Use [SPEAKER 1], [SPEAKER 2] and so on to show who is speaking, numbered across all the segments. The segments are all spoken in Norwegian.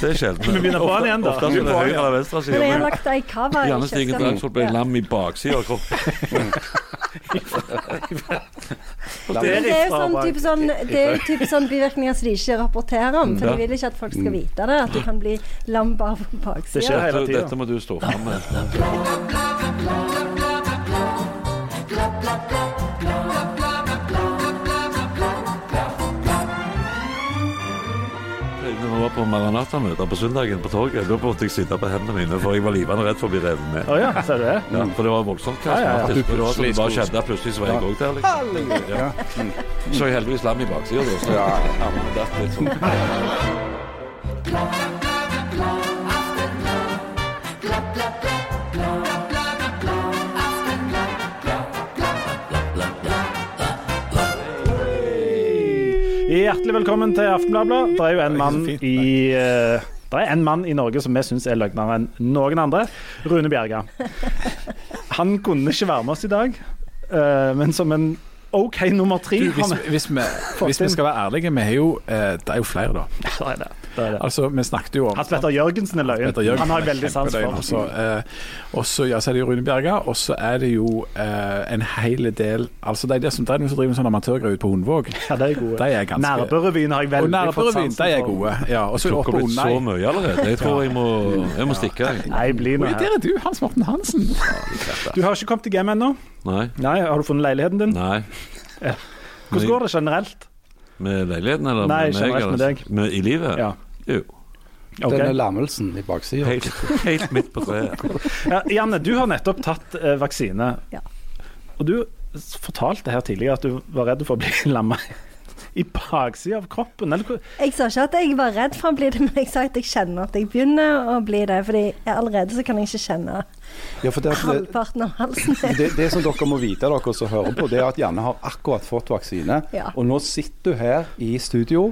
[SPEAKER 1] Det er sjelden.
[SPEAKER 2] Vi begynner på han igjen, da.
[SPEAKER 1] Ofte er det høyre eller venstre
[SPEAKER 3] Men jeg har
[SPEAKER 1] side.
[SPEAKER 3] lagt ei cover.
[SPEAKER 1] men Gjerne
[SPEAKER 3] ikke
[SPEAKER 1] stiger
[SPEAKER 3] sant?
[SPEAKER 1] Dragsvold ble lam i baksida av kroppen.
[SPEAKER 3] Men det er jo sånn, type sånn, det er jo type sånn bivirkninger som de ikke rapporterer om. For
[SPEAKER 1] Ja. Mm.
[SPEAKER 3] de vil ikke at folk skal vite det, at du kan bli lam bare på
[SPEAKER 2] Det skjer
[SPEAKER 3] baksida.
[SPEAKER 2] hele
[SPEAKER 1] Dette,
[SPEAKER 2] tida.
[SPEAKER 1] dette må du stå fram med. Når vi var på Maranata-møter på søndagen på torget, da måtte jeg sitte på hendene mine, for jeg var livende redd for å bli revet med.
[SPEAKER 2] Å ja, ser du det?
[SPEAKER 1] Ja, for det var voldsomt
[SPEAKER 2] Mm. Ja, ja, ja.
[SPEAKER 1] karismatisk. Det var sånn det bare
[SPEAKER 4] Plutselig
[SPEAKER 1] skjedde, plutselig så var jeg òg der. Liksom. Ja.
[SPEAKER 2] Mm.
[SPEAKER 1] Så jeg heldigvis lam i baksida, da. Så ja, men det er litt sånn.
[SPEAKER 2] Hjertelig velkommen til Aftenbladet. Det er jo en mann
[SPEAKER 4] så fint, nei.
[SPEAKER 2] i eh, det er en mann i Norge som vi syns er løgnere enn noen andre. Rune Bjerga. Han kunne ikke være med oss i dag, eh, men som en OK nummer tre
[SPEAKER 4] Du,
[SPEAKER 2] han
[SPEAKER 4] hvis, hvis, vi, hvis vi skal være ærlige, vi har jo, eh, det er jo flere, da.
[SPEAKER 2] Det er det. det, er det.
[SPEAKER 4] Altså, Vi snakket jo om
[SPEAKER 2] Hans Petter Jørgensen er løyen.
[SPEAKER 4] Petter Jørgen
[SPEAKER 2] Han har
[SPEAKER 4] er
[SPEAKER 2] jeg veldig sans
[SPEAKER 4] kjempedøgn,
[SPEAKER 2] for.
[SPEAKER 4] Altså. Eh, og så ja, så er det jo Rune Bjerga, og så er det jo eh, en hel del Altså, det er det som det er noen som driver med sånn amatørgraut på Hundvåg.
[SPEAKER 2] Ja, de er gode.
[SPEAKER 4] De er ganske
[SPEAKER 2] Nærberevyen har jeg
[SPEAKER 4] Og
[SPEAKER 2] veldig fått
[SPEAKER 4] Nærbørevin,
[SPEAKER 2] sansen
[SPEAKER 4] de er gode. Ja, og så er det
[SPEAKER 1] Klokka
[SPEAKER 4] oppe
[SPEAKER 1] er blitt så
[SPEAKER 4] under
[SPEAKER 1] mye allerede. Jeg tror jeg må, jeg må stikke. jeg.
[SPEAKER 2] Nei, bli nå
[SPEAKER 4] Oi,
[SPEAKER 2] her.
[SPEAKER 4] der er du, Hans Morten Hansen.
[SPEAKER 2] Du har ikke kommet deg hjem ennå?
[SPEAKER 1] Nei.
[SPEAKER 2] Nei, har du funnet leiligheten din?
[SPEAKER 1] Nei.
[SPEAKER 2] Hvordan går det generelt?
[SPEAKER 1] Med leiligheten, eller
[SPEAKER 2] Nei,
[SPEAKER 1] med meg?
[SPEAKER 2] generelt med
[SPEAKER 1] eller-
[SPEAKER 2] deg.
[SPEAKER 1] Med, I livet?
[SPEAKER 2] Ja.
[SPEAKER 1] Jo.
[SPEAKER 2] Ok.
[SPEAKER 5] Denne lammelsen i baksida.
[SPEAKER 1] Helt, helt midt på treet.
[SPEAKER 2] Ja, Janne, du har nettopp tatt eh, vaksine.
[SPEAKER 3] Ja.
[SPEAKER 2] Og du s- fortalte her tidligere at du var redd for å bli lamma i baksida av kroppen. Eller, hvor-
[SPEAKER 3] Jeg sa ikke at jeg var redd for å bli det, men jeg sa at jeg kjenner at jeg begynner å bli det. Fordi jeg allerede så kan jeg ikke kjenne
[SPEAKER 5] Ja, for det, at det,
[SPEAKER 3] halvparten av halsen.
[SPEAKER 5] det, det som dere må vite, dere som hører på, det er at Janne har akkurat fått vaksine.
[SPEAKER 3] Ja.
[SPEAKER 5] Og nå sitter du her i studio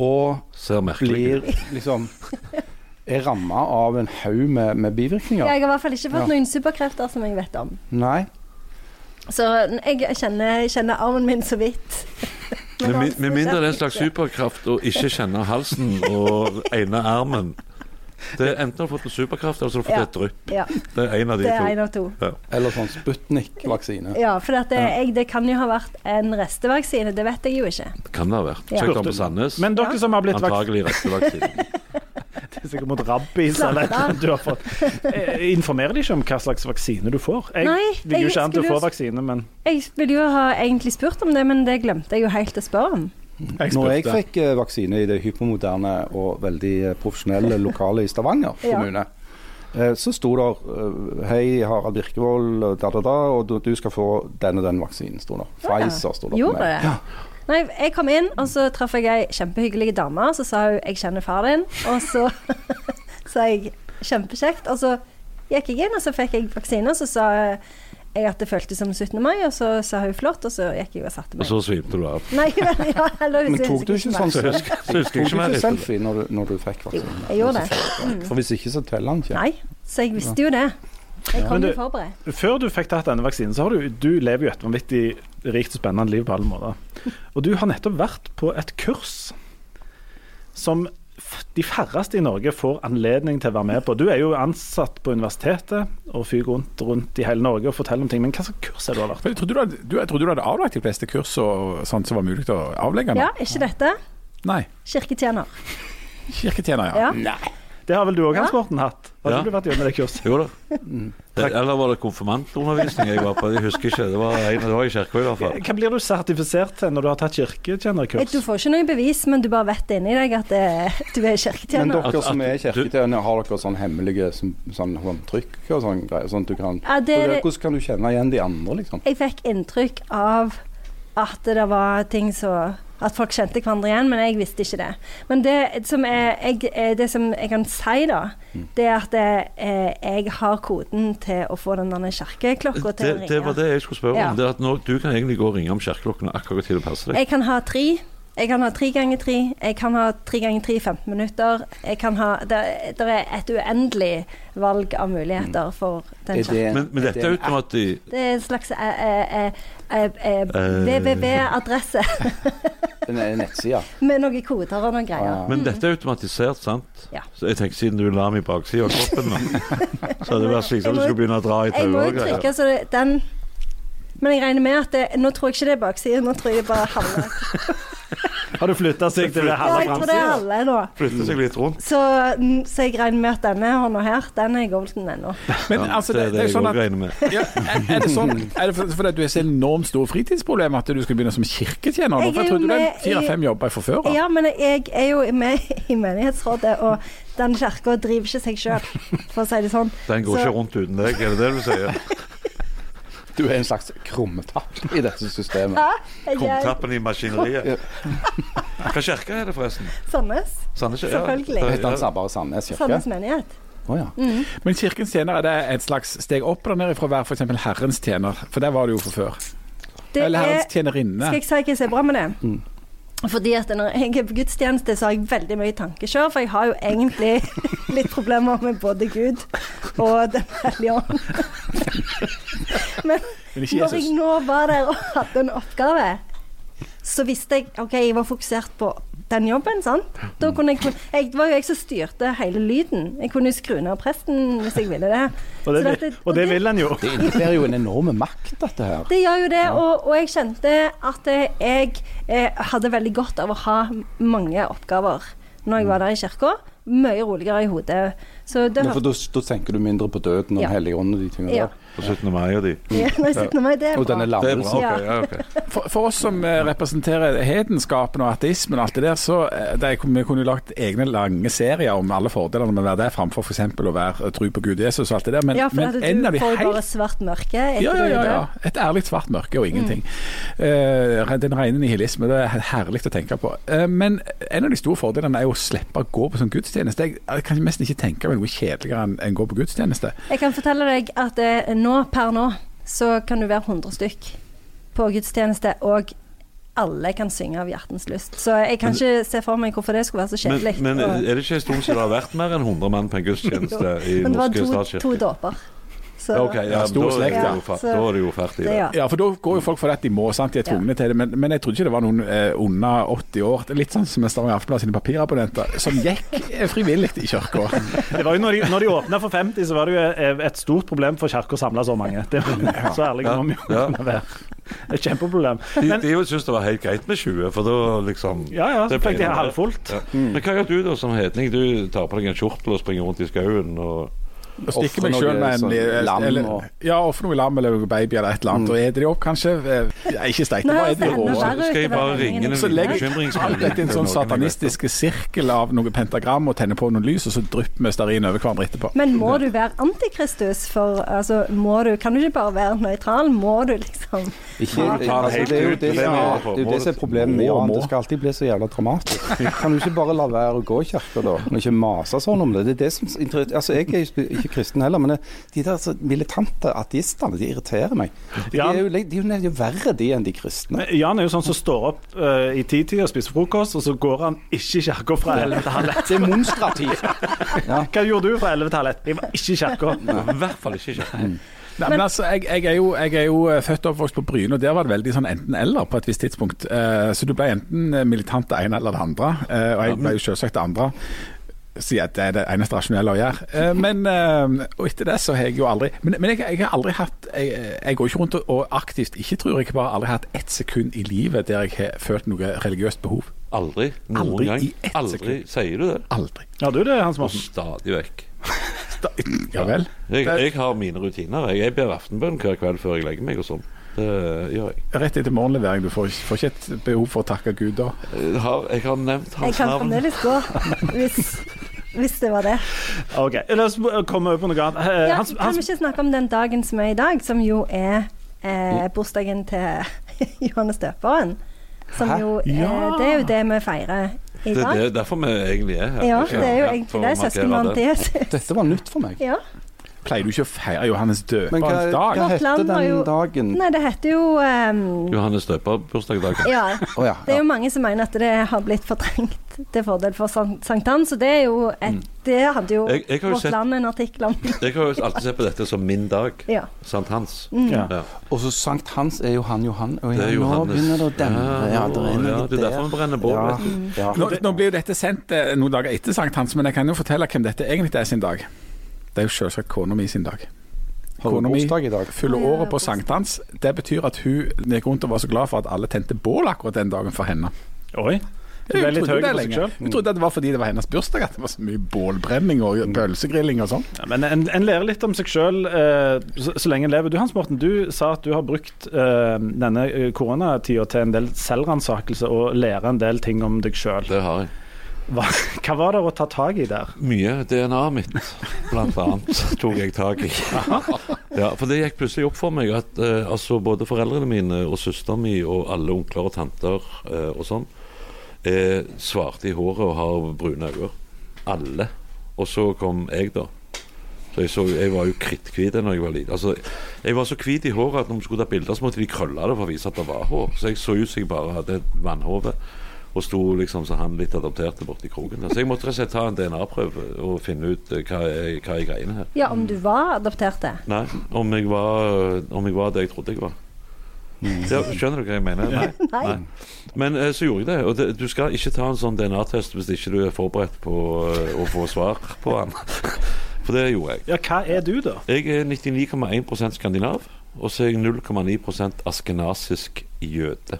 [SPEAKER 5] og
[SPEAKER 1] Ser merkelig
[SPEAKER 5] blir
[SPEAKER 1] ut.
[SPEAKER 5] liksom Er ramma av en haug med, med bivirkninger.
[SPEAKER 3] Jeg har i hvert fall ikke fått
[SPEAKER 5] Ja.
[SPEAKER 3] noen superkrefter som jeg vet om.
[SPEAKER 5] Nei.
[SPEAKER 3] Så jeg kjenner, jeg kjenner armen min så vidt. Men
[SPEAKER 1] Med, min-
[SPEAKER 3] halsen
[SPEAKER 1] med mindre det er en
[SPEAKER 3] kjenner
[SPEAKER 1] slags
[SPEAKER 3] jeg ikke.
[SPEAKER 1] superkraft å ikke kjenne halsen og ene armen. Det er Enten har du fått en superkraft, eller så har du fått
[SPEAKER 3] Ja.
[SPEAKER 1] et drypp.
[SPEAKER 3] Ja,
[SPEAKER 1] Det er en av de
[SPEAKER 3] det er
[SPEAKER 1] to.
[SPEAKER 3] en av to.
[SPEAKER 5] Eller sånn Sputnik-vaksine.
[SPEAKER 3] Ja, for at det, jeg, det kan jo ha vært en restevaksine, det vet jeg jo ikke.
[SPEAKER 1] Kan det ha vært.
[SPEAKER 3] Ja.
[SPEAKER 1] Sjekk om på Sandnes.
[SPEAKER 2] men dere som har blitt vaksinert
[SPEAKER 1] Antagelig rette vaksinen.
[SPEAKER 2] sikkert mot rabies eller et eller annet du har fått, eh, informerer de ikke om hva slags vaksine du får? Jeg
[SPEAKER 3] Nei,
[SPEAKER 2] vil jo
[SPEAKER 3] jeg
[SPEAKER 2] ikke an til å
[SPEAKER 3] skulle
[SPEAKER 2] få
[SPEAKER 3] jo-
[SPEAKER 2] vaksine, men
[SPEAKER 3] Jeg ville jo ha egentlig spurt om det, men det glemte jeg jo helt å spørre om.
[SPEAKER 5] Når jeg fikk eh, vaksine i det hypermoderne og veldig eh, profesjonelle lokalet i Stavanger
[SPEAKER 3] Ja.
[SPEAKER 5] kommune, eh, så sto det Hei, Harald Birkevold, eh, da, da, da, og du, du skal få den og den vaksinen, sto det. Pfizer sto det. på
[SPEAKER 3] Gjorde
[SPEAKER 5] meg.
[SPEAKER 3] det? Nei, jeg kom inn, og så traff jeg ei kjempehyggelig dame. Så sa hun 'jeg kjenner far din', og så sa jeg 'kjempekjekt'. Og så gikk jeg inn, og så fikk jeg vaksine, og så sa jeg at det føltes som 17. mai, og så sa hun 'flott', og så gikk jeg og satte
[SPEAKER 1] Og
[SPEAKER 3] meg.
[SPEAKER 1] så svimte du av.
[SPEAKER 3] Nei, men ja, eller
[SPEAKER 5] Men tok du ikke sånn
[SPEAKER 1] Så husker, så husker
[SPEAKER 5] Tok
[SPEAKER 1] jeg
[SPEAKER 5] du
[SPEAKER 1] ikke mer
[SPEAKER 5] ikke
[SPEAKER 1] etter det.
[SPEAKER 5] selfie når du, når du fikk
[SPEAKER 3] Jo,
[SPEAKER 5] vaksinen?
[SPEAKER 3] jeg gjorde det. Mm.
[SPEAKER 5] For hvis ikke, så teller han ikke.
[SPEAKER 3] Nei, så jeg visste jo det. Jeg
[SPEAKER 2] Men
[SPEAKER 3] kom jo
[SPEAKER 2] du-
[SPEAKER 3] forberedt.
[SPEAKER 2] Før du fikk tatt denne vaksinen, så har du, du lever jo et vanvittig rikt og spennende liv på alle måter. Og du har nettopp vært på et kurs som f- de færreste i Norge får anledning til å være med på. Du er jo ansatt på universitetet og fyker rundt, rundt i hele Norge og forteller om ting. Men hva slags kurs er det du har vært på?
[SPEAKER 4] Men jeg trodde du hadde, du, jeg trodde du hadde avlagt de fleste kurs og sånt som var mulig å avlegge? nå.
[SPEAKER 3] Ja, ikke dette.
[SPEAKER 4] Nei.
[SPEAKER 3] Kirketjener.
[SPEAKER 4] Kirketjener, ja.
[SPEAKER 3] Ja.
[SPEAKER 2] Det har vel du òg, Hans
[SPEAKER 3] Ja.
[SPEAKER 2] Morten, hatt? Har
[SPEAKER 1] Ja.
[SPEAKER 2] ikke du vært gjennom det kurset?
[SPEAKER 1] Jo da.
[SPEAKER 3] Mm.
[SPEAKER 1] Det- Eller var det konfirmantundervisning jeg var på? Jeg husker ikke. Det var, en, det var i kirka i hvert fall.
[SPEAKER 2] Hva blir du sertifisert til når du har tatt kirketjenerkurs?
[SPEAKER 3] Du får ikke noe bevis, men du bare vet det inni deg at det, du er
[SPEAKER 5] Men
[SPEAKER 3] kirketjener.
[SPEAKER 5] dere som er
[SPEAKER 1] At- at du-
[SPEAKER 5] kirketjenere, har dere sånn hemmelige sånn, sånn, sånn trykk og sånn greier? Sånn at du kan,
[SPEAKER 3] Ja, det er det-
[SPEAKER 5] hvordan kan du kjenne igjen de andre, liksom?
[SPEAKER 3] Jeg fikk inntrykk av at det var ting så At folk kjente hverandre igjen, men jeg visste ikke det. Men det som, er, jeg, eh, det som jeg kan si, da,
[SPEAKER 1] Mm.
[SPEAKER 3] det er at eh, jeg har koden til å få den der kirkeklokka til å
[SPEAKER 1] Det,
[SPEAKER 3] ringe.
[SPEAKER 1] det var det jeg skulle spørre
[SPEAKER 3] Ja.
[SPEAKER 1] om. Det er at nå, du kan egentlig gå og ringe om kirkeklokkene akkurat når det passer deg.
[SPEAKER 3] Jeg kan ha tre. Jeg kan ha tre ganger tre. Jeg kan ha tre ganger tre i 15 minutter. Jeg kan ha, det, det er et uendelig valg av
[SPEAKER 1] Mm.
[SPEAKER 3] muligheter for den skjermen.
[SPEAKER 1] Men, men dette er uten at de
[SPEAKER 3] Det er en slags eh, eh, eh, eh, www-adresse
[SPEAKER 5] en en nettside.
[SPEAKER 3] med noen koder og noen greier.
[SPEAKER 1] Men dette er automatisert, sant?
[SPEAKER 3] Mm. Ja.
[SPEAKER 1] Så jeg tenker Siden du la meg i baksida av kroppen, nå, så hadde det vært slik
[SPEAKER 3] Jeg
[SPEAKER 1] som du
[SPEAKER 3] må-
[SPEAKER 1] skulle begynne å dra i
[SPEAKER 3] Jeg må
[SPEAKER 1] tauet og
[SPEAKER 3] jo
[SPEAKER 1] greier.
[SPEAKER 3] trykke så det, den Men jeg regner med at det, Nå tror jeg ikke det er baksiden, nå tror jeg det bare er halve.
[SPEAKER 2] Har du flytta seg til det
[SPEAKER 3] Ja,
[SPEAKER 2] halve
[SPEAKER 3] jeg tror det er
[SPEAKER 2] framsida?
[SPEAKER 3] halve nå.
[SPEAKER 1] Flytte seg litt rundt.
[SPEAKER 3] Så, mm, så jeg regner med at denne hånda her, den er golden ennå.
[SPEAKER 4] Men
[SPEAKER 1] Ja,
[SPEAKER 4] altså,
[SPEAKER 1] det er det
[SPEAKER 4] jo
[SPEAKER 1] jeg
[SPEAKER 4] sånn
[SPEAKER 1] òg
[SPEAKER 4] at
[SPEAKER 1] regner med.
[SPEAKER 4] ja, er, er det sånn, er det for- fordi at du er så enormt stor fritidsproblem at du skal begynne som kirketjener? nå?
[SPEAKER 3] Jeg
[SPEAKER 4] For
[SPEAKER 3] er
[SPEAKER 4] jeg
[SPEAKER 3] jo
[SPEAKER 4] trodde du
[SPEAKER 3] med i-
[SPEAKER 4] hadde fire-fem jobber fra før av.
[SPEAKER 3] Ja, men jeg er jo med i menighetsrådet, og den kirka driver ikke seg sjøl, for å si det sånn.
[SPEAKER 1] Den går
[SPEAKER 3] Så-
[SPEAKER 1] ikke rundt uten deg, er det det du sier?
[SPEAKER 5] Du er en slags krumtapp i dette systemet.
[SPEAKER 3] Ja, jeg er
[SPEAKER 1] Krumtappen i maskineriet. Hva kirke er det, forresten?
[SPEAKER 3] Sandnes.
[SPEAKER 1] Sandnes?
[SPEAKER 3] Selvfølgelig.
[SPEAKER 5] Det heter altså bare Sandnes kirke.
[SPEAKER 3] Sandnes menighet.
[SPEAKER 5] Å ja.
[SPEAKER 3] Mm.
[SPEAKER 4] Men Kirkens tjener, er det et slags steg opp eller ned fra å være f.eks. Herrens tjener? For der var det jo fra før.
[SPEAKER 3] Det
[SPEAKER 4] Eller
[SPEAKER 3] er
[SPEAKER 4] Herrens tjenerinne.
[SPEAKER 3] Skal jeg si hva som er bra med det?
[SPEAKER 4] Mm.
[SPEAKER 3] Fordi at når jeg er på gudstjeneste, så har jeg veldig mye tankekjør, for jeg har jo egentlig litt problemer med både Gud og Den hellige ånd. Men
[SPEAKER 4] Men ikke
[SPEAKER 3] når
[SPEAKER 4] Jesus.
[SPEAKER 3] jeg nå var der og hadde en oppgave, så visste jeg OK, jeg var fokusert på den jobben, sant. Da kunne jeg, jeg det var jo jeg som styrte hele lyden. Jeg kunne jo skru ned presten hvis jeg ville det.
[SPEAKER 2] Og
[SPEAKER 3] Så
[SPEAKER 2] det,
[SPEAKER 3] dette-
[SPEAKER 2] og det vil en jo.
[SPEAKER 5] Det innebærer jo en enorm makt, dette her.
[SPEAKER 3] Det gjør jo det, og, og jeg kjente at eh, jeg eh, hadde veldig godt av å ha mange oppgaver når jeg
[SPEAKER 4] Mm.
[SPEAKER 3] var der i kirka. Mye roligere i hodet. Så det
[SPEAKER 5] Ja, for da da tenker du mindre på døden og
[SPEAKER 3] Ja.
[SPEAKER 5] Den hellige ånd og de tingene
[SPEAKER 3] Ja.
[SPEAKER 5] der.
[SPEAKER 1] På 17. mai og de.
[SPEAKER 3] Ja, Når jeg sitter med meg, det er
[SPEAKER 5] Og
[SPEAKER 3] bra.
[SPEAKER 5] denne
[SPEAKER 1] Det er bra.
[SPEAKER 5] lammelsen.
[SPEAKER 1] ok,
[SPEAKER 3] Ja.
[SPEAKER 1] ja, ok.
[SPEAKER 4] For, for oss som eh, representerer hedenskapen og ateismen og alt det der, så eh, det, vi kunne jo lagt egne lange serier om alle fordelene med å være der, framfor f.eks. å være tro på Gud Jesus og alt det der. Men,
[SPEAKER 3] ja, for
[SPEAKER 4] men
[SPEAKER 3] at du
[SPEAKER 4] en av de
[SPEAKER 3] får jo
[SPEAKER 4] helt
[SPEAKER 3] bare svart mørke. etter
[SPEAKER 4] ja, ja,
[SPEAKER 3] du
[SPEAKER 4] ja,
[SPEAKER 3] er
[SPEAKER 4] ja.
[SPEAKER 3] død.
[SPEAKER 4] Et ærlig svart mørke og ingenting.
[SPEAKER 3] Mm.
[SPEAKER 4] Eh, den rene nihilisme, det er herlig å tenke på. Eh, men en av de store fordelene er jo å slippe å gå på sånn gudstjeneste. Jeg, jeg kan nesten ikke tenke meg noe kjedeligere enn enn å gå på gudstjeneste.
[SPEAKER 3] Jeg kan fortelle deg at eh, nå, per nå, så kan du være 100 stykk på gudstjeneste, og alle kan synge av hjertens lyst. Så jeg kan ikke se for meg hvorfor det skulle være så
[SPEAKER 1] Men,
[SPEAKER 3] kjedelig.
[SPEAKER 1] men
[SPEAKER 4] eh,
[SPEAKER 3] og-
[SPEAKER 1] er det ikke en stund siden det har vært mer enn 100 mann på en gudstjeneste i
[SPEAKER 3] men det var
[SPEAKER 1] norske
[SPEAKER 3] to, to
[SPEAKER 1] statskirker?
[SPEAKER 3] dåper. Så
[SPEAKER 1] Ja, ok, ja,
[SPEAKER 4] Stor
[SPEAKER 1] da, er
[SPEAKER 4] slekt,
[SPEAKER 1] det
[SPEAKER 4] ja.
[SPEAKER 1] jo fa-
[SPEAKER 3] Så-
[SPEAKER 1] da er det jo ferdig.
[SPEAKER 3] det,
[SPEAKER 1] det.
[SPEAKER 3] ja.
[SPEAKER 4] Ja, for da går jo folk for at de må, sant. De er tvungne til det. Men, men jeg trodde ikke det var noen eh, under 80 år, det er litt sånn som Stavanger Aftenblad sine papirabonnenter, som gikk eh, frivillig i kirka.
[SPEAKER 2] Det var jo når de, når de åpna for 50, så var det jo eh, et stort problem for kirka å samle så mange. Det var så ærlig om vi
[SPEAKER 1] Ja.
[SPEAKER 2] kunne være. Et kjempeproblem.
[SPEAKER 1] De,
[SPEAKER 2] Men
[SPEAKER 1] de syntes det var helt greit med 20, for da liksom
[SPEAKER 2] ja, ja, så
[SPEAKER 1] Det
[SPEAKER 2] fikk de
[SPEAKER 1] ble-
[SPEAKER 2] halvfullt.
[SPEAKER 1] Ja. Men hva gjør du da som hedning? Du tar på deg en kjortel og springer rundt i skauen og
[SPEAKER 4] Og stikker
[SPEAKER 5] Ofre
[SPEAKER 4] meg sjøl
[SPEAKER 5] noe
[SPEAKER 4] med en
[SPEAKER 5] sånn
[SPEAKER 4] eh,
[SPEAKER 5] lam
[SPEAKER 4] eller-
[SPEAKER 5] og- Mm.
[SPEAKER 4] Ja, offer noe lam eller noe baby eller et eller annet, og eter de opp kanskje. Eh, ja, ikke steik, det
[SPEAKER 3] Nei, altså,
[SPEAKER 4] bare eter de
[SPEAKER 3] enda
[SPEAKER 4] rå.
[SPEAKER 3] verre.
[SPEAKER 1] Så skal jeg bare
[SPEAKER 3] Det er
[SPEAKER 1] ringe en
[SPEAKER 4] Så legger alt
[SPEAKER 1] bekymringsmelding
[SPEAKER 4] dette i en
[SPEAKER 1] til
[SPEAKER 4] sånn
[SPEAKER 1] noen jeg vet om.
[SPEAKER 4] satanistisk sirkel av noe pentagram og tenner på noen lys, og så drypper vi stearin over hverandre etterpå.
[SPEAKER 3] Men må du være antikristus? For altså, må du, kan du ikke bare være nøytral? Må du liksom
[SPEAKER 5] Ikke,
[SPEAKER 1] Må du ta det
[SPEAKER 5] altså,
[SPEAKER 1] helt
[SPEAKER 5] det er jo det
[SPEAKER 1] ut? Det
[SPEAKER 5] som
[SPEAKER 1] må
[SPEAKER 5] er,
[SPEAKER 1] du få.
[SPEAKER 5] det er jo det som er problemet med
[SPEAKER 4] Må,
[SPEAKER 5] Jan.
[SPEAKER 4] må.
[SPEAKER 5] Det skal alltid bli så jævla dramatisk. Kan du ikke bare la være å gå i kirka, da? Og ikke mase sånn om det. Det er det som inter- Altså, jeg er jo sp- ikke kristen heller, men det- de der så militante ateistene, de irriterer meg. De
[SPEAKER 2] Ja.
[SPEAKER 5] er jo, de er jo ned- de er jo verre, de, enn de kristne.
[SPEAKER 2] Men Jan er jo sånn som står opp eh, i titida og spiser frokost, og så går han ikke i kirka fra 11 til halv 1.
[SPEAKER 5] Det er monstrativt.
[SPEAKER 2] Hva gjorde du fra 11 til halv 1? Jeg var ikke i kirka.
[SPEAKER 1] I hvert fall ikke kirke.
[SPEAKER 4] Nei, men altså, jeg, jeg, er jo, jeg er jo eh, født og oppvokst på Bryne, og der var det veldig sånn enten-eller på et visst tidspunkt. Eh, så du ble enten eh, militant det ene eller det andre, eh, og jeg ble jo selvsagt det andre. Så jeg, det er det eneste rasjonelle å gjøre. Eh, men eh, og etter det så har jeg jo aldri Men, men jeg, jeg har aldri hatt jeg, jeg går ikke rundt og- og aktivt ikke tror jeg bare aldri har hatt ett sekund i livet der jeg har følt noe religiøst behov.
[SPEAKER 1] Aldri. Noen
[SPEAKER 4] Aldri
[SPEAKER 1] gang.
[SPEAKER 4] i ett
[SPEAKER 1] Aldri.
[SPEAKER 4] sekund.
[SPEAKER 1] Sier du det?
[SPEAKER 4] Aldri.
[SPEAKER 2] Ja, du det, Hans
[SPEAKER 1] Og
[SPEAKER 2] Morten.
[SPEAKER 1] stadig vekk.
[SPEAKER 4] Da, ja vel.
[SPEAKER 1] Jeg, jeg har mine rutiner. jeg. Jeg ber aftenbønn hver kveld før jeg legger meg og sånn. Det gjør jeg.
[SPEAKER 4] Rett etter morgenlevering. Du får, ikke- får ikke et behov for å takke Gud da.
[SPEAKER 1] Jeg har, jeg har nevnt
[SPEAKER 3] Jeg
[SPEAKER 1] hans
[SPEAKER 3] kan
[SPEAKER 1] navn.
[SPEAKER 3] fremdeles gå, hvis, hvis det var det.
[SPEAKER 2] OK, la oss komme over på noe annet. Eh,
[SPEAKER 3] Ja,
[SPEAKER 2] Hans,
[SPEAKER 3] kan vi
[SPEAKER 2] Hans,
[SPEAKER 3] ikke snakke om den dagen som er i dag, som jo er eh, bursdagen til Johannes døperen? Som
[SPEAKER 5] Hæ?
[SPEAKER 3] jo er,
[SPEAKER 4] Ja.
[SPEAKER 3] Det er jo det vi feirer i
[SPEAKER 1] Det, det
[SPEAKER 3] dag.
[SPEAKER 1] er derfor vi egentlig er her.
[SPEAKER 3] Ja, det er jo
[SPEAKER 1] Ja,
[SPEAKER 3] egentlig
[SPEAKER 1] for å
[SPEAKER 3] det.
[SPEAKER 1] markere
[SPEAKER 3] Søskenbarn
[SPEAKER 1] det.
[SPEAKER 3] til Jesus.
[SPEAKER 5] Dette var nytt for meg.
[SPEAKER 3] Ja.
[SPEAKER 4] Pleier du ikke å feire Johannes
[SPEAKER 6] Men hva,
[SPEAKER 4] døperens dag?
[SPEAKER 6] hva
[SPEAKER 3] Vårt
[SPEAKER 6] heter
[SPEAKER 3] land har
[SPEAKER 6] den
[SPEAKER 3] jo-
[SPEAKER 6] dagen?
[SPEAKER 3] Nei, det heter jo ehm,
[SPEAKER 1] Johannes døper-bursdagsdagen.
[SPEAKER 3] Ja.
[SPEAKER 6] Å ja,
[SPEAKER 3] Det er
[SPEAKER 6] ja.
[SPEAKER 3] jo mange som mener at det har blitt fortrengt til fordel for sank- sankthans, og det er jo et Det hadde jo
[SPEAKER 1] Mm. Jeg- jeg har jo
[SPEAKER 3] Vårt
[SPEAKER 1] sett-
[SPEAKER 3] Land en artikkel om.
[SPEAKER 1] Jeg har jo alltid sett på dette som min dag.
[SPEAKER 3] Ja.
[SPEAKER 1] Sankthans.
[SPEAKER 3] Mm.
[SPEAKER 2] Ja.
[SPEAKER 1] Ja.
[SPEAKER 6] Og så Sankt Hans er jo han Johan. Og
[SPEAKER 1] Det er
[SPEAKER 6] nå
[SPEAKER 1] Johannes.
[SPEAKER 6] begynner det å demre. Ja, det er,
[SPEAKER 1] ja,
[SPEAKER 6] noe
[SPEAKER 1] det er derfor vi brenner bål.
[SPEAKER 6] Ja,
[SPEAKER 1] vet du.
[SPEAKER 6] ja.
[SPEAKER 4] Nå, nå blir jo dette sendt eh, noen dager etter sankthans, men jeg kan jo fortelle hvem dette egentlig er sin dag. Det er jo selvsagt kona mi sin dag.
[SPEAKER 6] Har du
[SPEAKER 4] Kona mi
[SPEAKER 6] bursdag i dag?
[SPEAKER 4] fyller
[SPEAKER 3] Å, ja,
[SPEAKER 4] året på
[SPEAKER 3] bursdag.
[SPEAKER 4] sankthans. Det betyr at hun gikk rundt og var så glad for at alle tente bål akkurat den dagen for henne.
[SPEAKER 2] Oi. Det er
[SPEAKER 4] Hun
[SPEAKER 2] litt høy
[SPEAKER 4] trodde, det
[SPEAKER 2] på seg
[SPEAKER 4] lenge.
[SPEAKER 2] selv.
[SPEAKER 4] hun trodde at det var fordi det var hennes bursdag at det var så mye bålbrenning og pølsegrilling og sånn.
[SPEAKER 2] Ja, men en, en lærer litt om seg sjøl så, så lenge en lever. Du Hans Morten, du sa at du har brukt eh, denne eh, koronatida til en del selvransakelse og lære en del ting om deg sjøl.
[SPEAKER 1] Det har jeg.
[SPEAKER 2] Hva, hva var det å ta tak i der?
[SPEAKER 1] Mye DNA-et mitt, blant annet, tok jeg tak i. Ja, for det gikk plutselig opp for meg at eh, altså både foreldrene mine og søsteren min og alle onkler og tanter eh, og sånn er svarte i håret og har brune øyne. Alle. Og så kom jeg, da. Så jeg, så, jeg var jo kritthvit da jeg var liten. Altså, jeg var så hvit i håret at når vi skulle ta bilder, så måtte de krølle det for å vise at det var hår. Så jeg så ut som jeg bare hadde et vannhode. Og sto liksom så han litt adopterte borti kroken. Så jeg måtte rett og slett ta en DNA-prøve og finne ut eh, hva er, hva er greiene her.
[SPEAKER 3] Ja, om du var adoptert det.
[SPEAKER 1] Nei, om jeg var, eh, om jeg var det jeg trodde jeg var. Ja, skjønner du hva jeg mener? Nei.
[SPEAKER 3] Nei.
[SPEAKER 1] Men eh, så gjorde jeg det. Og det, du skal ikke ta en sånn DNA-test hvis ikke du er forberedt på eh, å få svar på den. For det gjorde jeg.
[SPEAKER 2] Ja, hva er du, da?
[SPEAKER 1] Jeg er 99,1 skandinav, og så er jeg 0,9 askenasisk jøde.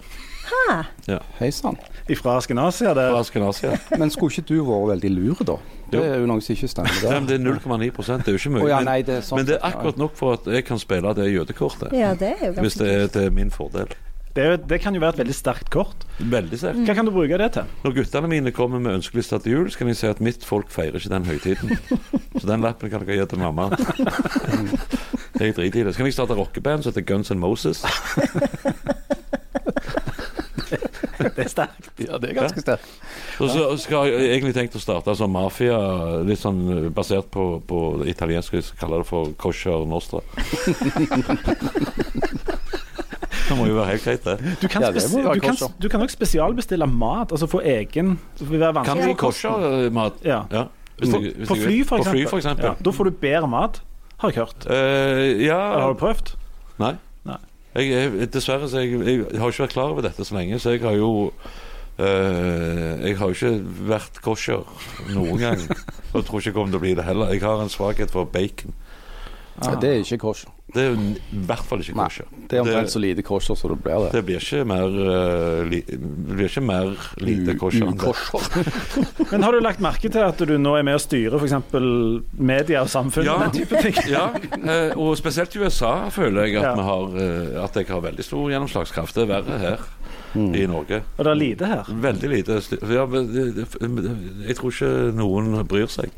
[SPEAKER 6] Hei sann.
[SPEAKER 2] Ifra Askenasia? Det,
[SPEAKER 1] Fra Askenasia.
[SPEAKER 6] Men skulle ikke du vært veldig lur, da? Det er jo noe som ikke stemmer
[SPEAKER 1] Nei,
[SPEAKER 6] der.
[SPEAKER 1] men Det er 0,9 det er jo ikke mye.
[SPEAKER 6] Å ja,
[SPEAKER 1] men-
[SPEAKER 6] nei, det er sånn.
[SPEAKER 1] Men det er akkurat nok for at jeg kan spille det jødekortet.
[SPEAKER 3] Ja, det er jo
[SPEAKER 1] Hvis
[SPEAKER 3] ganske
[SPEAKER 1] det er
[SPEAKER 3] kult.
[SPEAKER 1] til min fordel.
[SPEAKER 2] det, er jo- det kan jo være et veldig sterkt kort.
[SPEAKER 1] Veldig sterkt.
[SPEAKER 6] Mm.
[SPEAKER 2] Hva kan du bruke det til?
[SPEAKER 1] Når guttene mine kommer med ønskelista til jul, så kan jeg si at mitt folk feirer ikke den høytiden. Så den lappen kan dere gi til mamma. Jeg driter i det. Så kan jeg starte rockeband som heter Guns N' Moses.
[SPEAKER 2] Det er sterkt.
[SPEAKER 6] Ja, det er ganske sterkt.
[SPEAKER 1] Og så skal jeg egentlig tenkt å starte som mafia, litt sånn basert på, på det italienske, vi kaller det for kosher nostra. Det må jo være helt greit, det.
[SPEAKER 2] Du kan
[SPEAKER 6] Ja, det må
[SPEAKER 2] spes-
[SPEAKER 6] være
[SPEAKER 2] du kan-
[SPEAKER 6] kosher.
[SPEAKER 2] du kan også spesialbestille mat, altså få egen det vil være
[SPEAKER 1] Kan
[SPEAKER 2] vanskelig.
[SPEAKER 1] vi eh, kosher-mat?
[SPEAKER 2] Ja.
[SPEAKER 1] Ja. Hvis
[SPEAKER 2] På,
[SPEAKER 1] jeg- hvis
[SPEAKER 2] på
[SPEAKER 1] jeg-
[SPEAKER 2] fly, for
[SPEAKER 1] På fly,
[SPEAKER 2] eksempel.
[SPEAKER 1] for eksempel.
[SPEAKER 2] Ja, da får du bedre mat, har jeg hørt.
[SPEAKER 1] Eh,
[SPEAKER 2] Eller
[SPEAKER 1] ja
[SPEAKER 2] har du prøvd?
[SPEAKER 1] Nei.
[SPEAKER 2] Nei.
[SPEAKER 1] Jeg, er- dessverre så jeg, jeg har ikke vært klar over dette så lenge, så jeg har jo eh, Jeg har jo ikke vært kosher noen gang. Og jeg tror ikke jeg kommer til å bli det heller. Jeg har en svakhet for bacon.
[SPEAKER 6] Ja, det er ikke kors.
[SPEAKER 1] Det er jo n- i hvert fall ikke
[SPEAKER 6] Nei,
[SPEAKER 1] kosher.
[SPEAKER 6] det er omtrent så lite kors som det blir det.
[SPEAKER 1] Det blir ikke mer, eh, li, det blir ikke mer lite kosher enn det.
[SPEAKER 6] Ukosher.
[SPEAKER 2] Men har du lagt merke til at du nå er med å styre f.eks. media og samfunnet?
[SPEAKER 1] Ja.
[SPEAKER 2] og Den type ting?
[SPEAKER 1] Ja, eh, og spesielt i USA føler jeg at,
[SPEAKER 2] Ja.
[SPEAKER 1] vi har, eh, at jeg har veldig stor gjennomslagskraft. Det er verre her
[SPEAKER 6] Mm.
[SPEAKER 1] i Norge.
[SPEAKER 2] Og det er lite her.
[SPEAKER 1] Veldig lite styr. Ja, men det- det- jeg tror ikke noen bryr seg.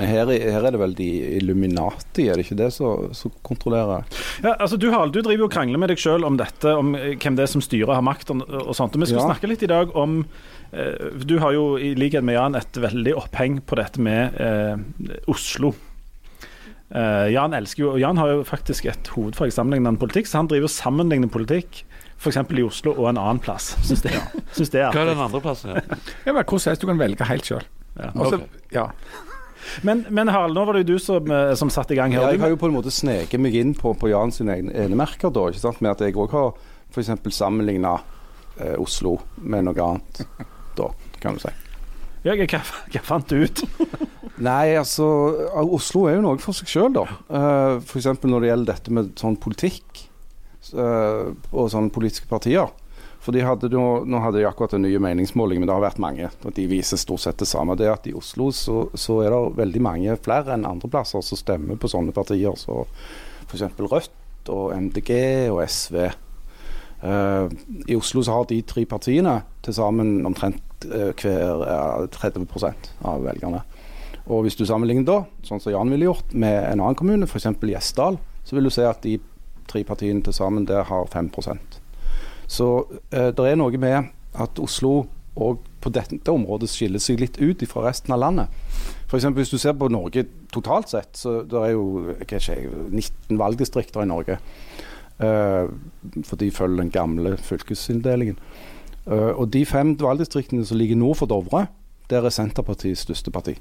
[SPEAKER 6] Her, er- her er det vel de Illuminati, er det ikke det som som kontrollerer?
[SPEAKER 2] Ja, altså Du Harald, du driver jo og krangler med deg sjøl om dette, om eh, hvem det er som styrer og har makt og, og sånt. Og Vi skal
[SPEAKER 6] Ja.
[SPEAKER 2] snakke litt i dag om eh, Du har jo i likhet med Jan et veldig oppheng på dette med eh, Oslo. Eh, Jan elsker jo og Jan har jo faktisk et hovedfag i sammenlignende politikk, så han driver og sammenligner politikk f.eks. i Oslo og en annen plass. Syns det, synes det er
[SPEAKER 1] Hva er den andre plassen? Ja?
[SPEAKER 4] Ja, men Hvordan helst du kan velge helt sjøl.
[SPEAKER 2] Ja.
[SPEAKER 1] Ok.
[SPEAKER 4] Ja.
[SPEAKER 2] Men, men Harald, nå var det jo du som, eh, som satte i gang her.
[SPEAKER 6] Ja, jeg
[SPEAKER 2] Du-
[SPEAKER 6] har jo på en måte sneket meg inn på, på Jan sine egne enemerker, da. Ikke sant? Med at jeg òg har f.eks. sammenligna eh, Oslo med noe annet, da, kan du si.
[SPEAKER 2] Ja, hva, hva fant du ut?
[SPEAKER 6] Nei, altså Oslo er jo noe for seg sjøl, da. Eh, For F.eks. når det gjelder dette med sånn politikk s- eh, og sånne politiske partier. For de hadde nå, nå hadde de akkurat en ny meningsmåling, men det har vært mange. og De viser stort sett det samme. Det er at i Oslo så, så er det veldig mange flere enn andre plasser som stemmer på sånne partier. Så f.eks. Rødt og MDG og SV. Eh, I Oslo så har de tre partiene til sammen omtrent eh, hver eh, 30 av velgerne. Og hvis du sammenligner da, sånn som Jan ville gjort, med en annen kommune, f.eks. Gjesdal, så vil du se at de tre partiene til sammen der har 5 Så eh, det er noe med at Oslo òg på dette området skiller seg litt ut fra resten av landet. F.eks. hvis du ser på Norge totalt sett, så det er jo hva vet ikke, jeg, 19 valgdistrikter i Norge. Eh, for de følger den gamle fylkesinndelingen. Eh, og de fem valgdistriktene som ligger nord for Dovre, der er Senterpartiets største parti.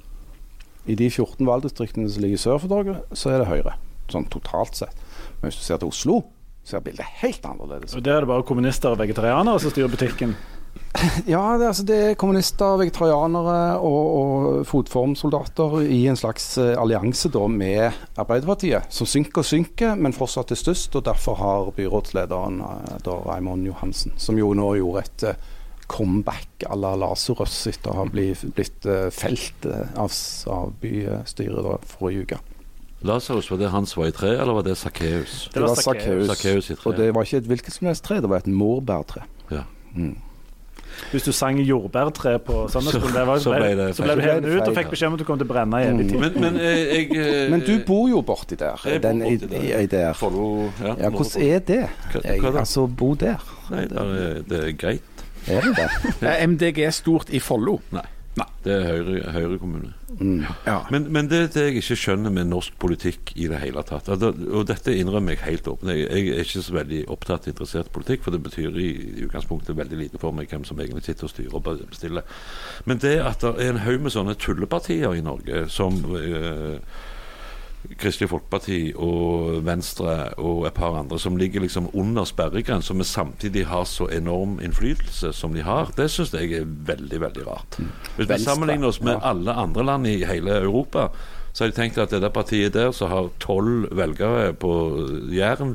[SPEAKER 6] I de 14 valgdistriktene som ligger sør for Dovre, så er det Høyre. Sånn totalt sett. Men hvis du ser til Oslo, så er bildet helt annerledes.
[SPEAKER 2] Og Der er det bare kommunister og vegetarianere som styrer butikken.
[SPEAKER 6] Ja, det, er altså, det er kommunister, vegetarianere og, og fotformsoldater i en slags eh, allianse da med Arbeiderpartiet, som synker og synker, men fortsatt er størst. og Derfor har byrådslederen eh, da Raymond Johansen, som jo nå gjorde et eh, comeback à la Lasarus etter å ha bli, blitt eh, felt eh, av, s- av bystyret da, forrige uke.
[SPEAKER 1] Lasarus, var det han som var i tre, eller var det Sakkeus?
[SPEAKER 2] Det var Sakkeus.
[SPEAKER 1] Sakkeus i tre.
[SPEAKER 6] Og det var ikke et hvilket som helst tre, det var et morbærtre.
[SPEAKER 1] Ja.
[SPEAKER 2] Hvis du sang 'Jordbærtre' på Sandnesskolen, det var-
[SPEAKER 1] Så ble det
[SPEAKER 2] så ble du
[SPEAKER 6] feil.
[SPEAKER 2] hevet ut og fikk beskjed om at du kom til å brenne i evig tid.
[SPEAKER 1] Men, men eh, jeg eh,
[SPEAKER 6] Mm. Men du bor jo borti der.
[SPEAKER 1] jeg bor
[SPEAKER 6] Den, i,
[SPEAKER 1] borti der.
[SPEAKER 6] i, i der.
[SPEAKER 1] Follo ja,
[SPEAKER 6] Ja, hvordan er det?
[SPEAKER 1] Hva-
[SPEAKER 6] Jeg,
[SPEAKER 1] hva da?
[SPEAKER 6] altså, bo der.
[SPEAKER 1] Nei, det er, det er greit.
[SPEAKER 6] Er det det?
[SPEAKER 4] Eh, MDG er stort i Follo.
[SPEAKER 1] Nei. Det er Høyre, Høyre kommune.
[SPEAKER 6] Mm.
[SPEAKER 4] Ja.
[SPEAKER 1] Men, men det, det jeg ikke skjønner med norsk politikk i det hele tatt altså, Og dette innrømmer jeg helt åpent. Jeg, jeg er ikke så veldig opptatt og interessert i politikk, for det betyr i, i utgangspunktet veldig lite for meg hvem som egentlig sitter og styrer og bestiller. Men det at det er en haug med sånne tullepartier i Norge, som eh, Kristelig Folkeparti og Venstre og et par andre som ligger liksom under sperregrensa, men samtidig har så enorm innflytelse som de har, det syns jeg er veldig, veldig rart. Hvis vi
[SPEAKER 6] Venstre,
[SPEAKER 1] sammenligner oss med
[SPEAKER 6] ja.
[SPEAKER 1] alle andre land i hele Europa, så har jeg tenkt at det der partiet der som har tolv velgere på Jæren,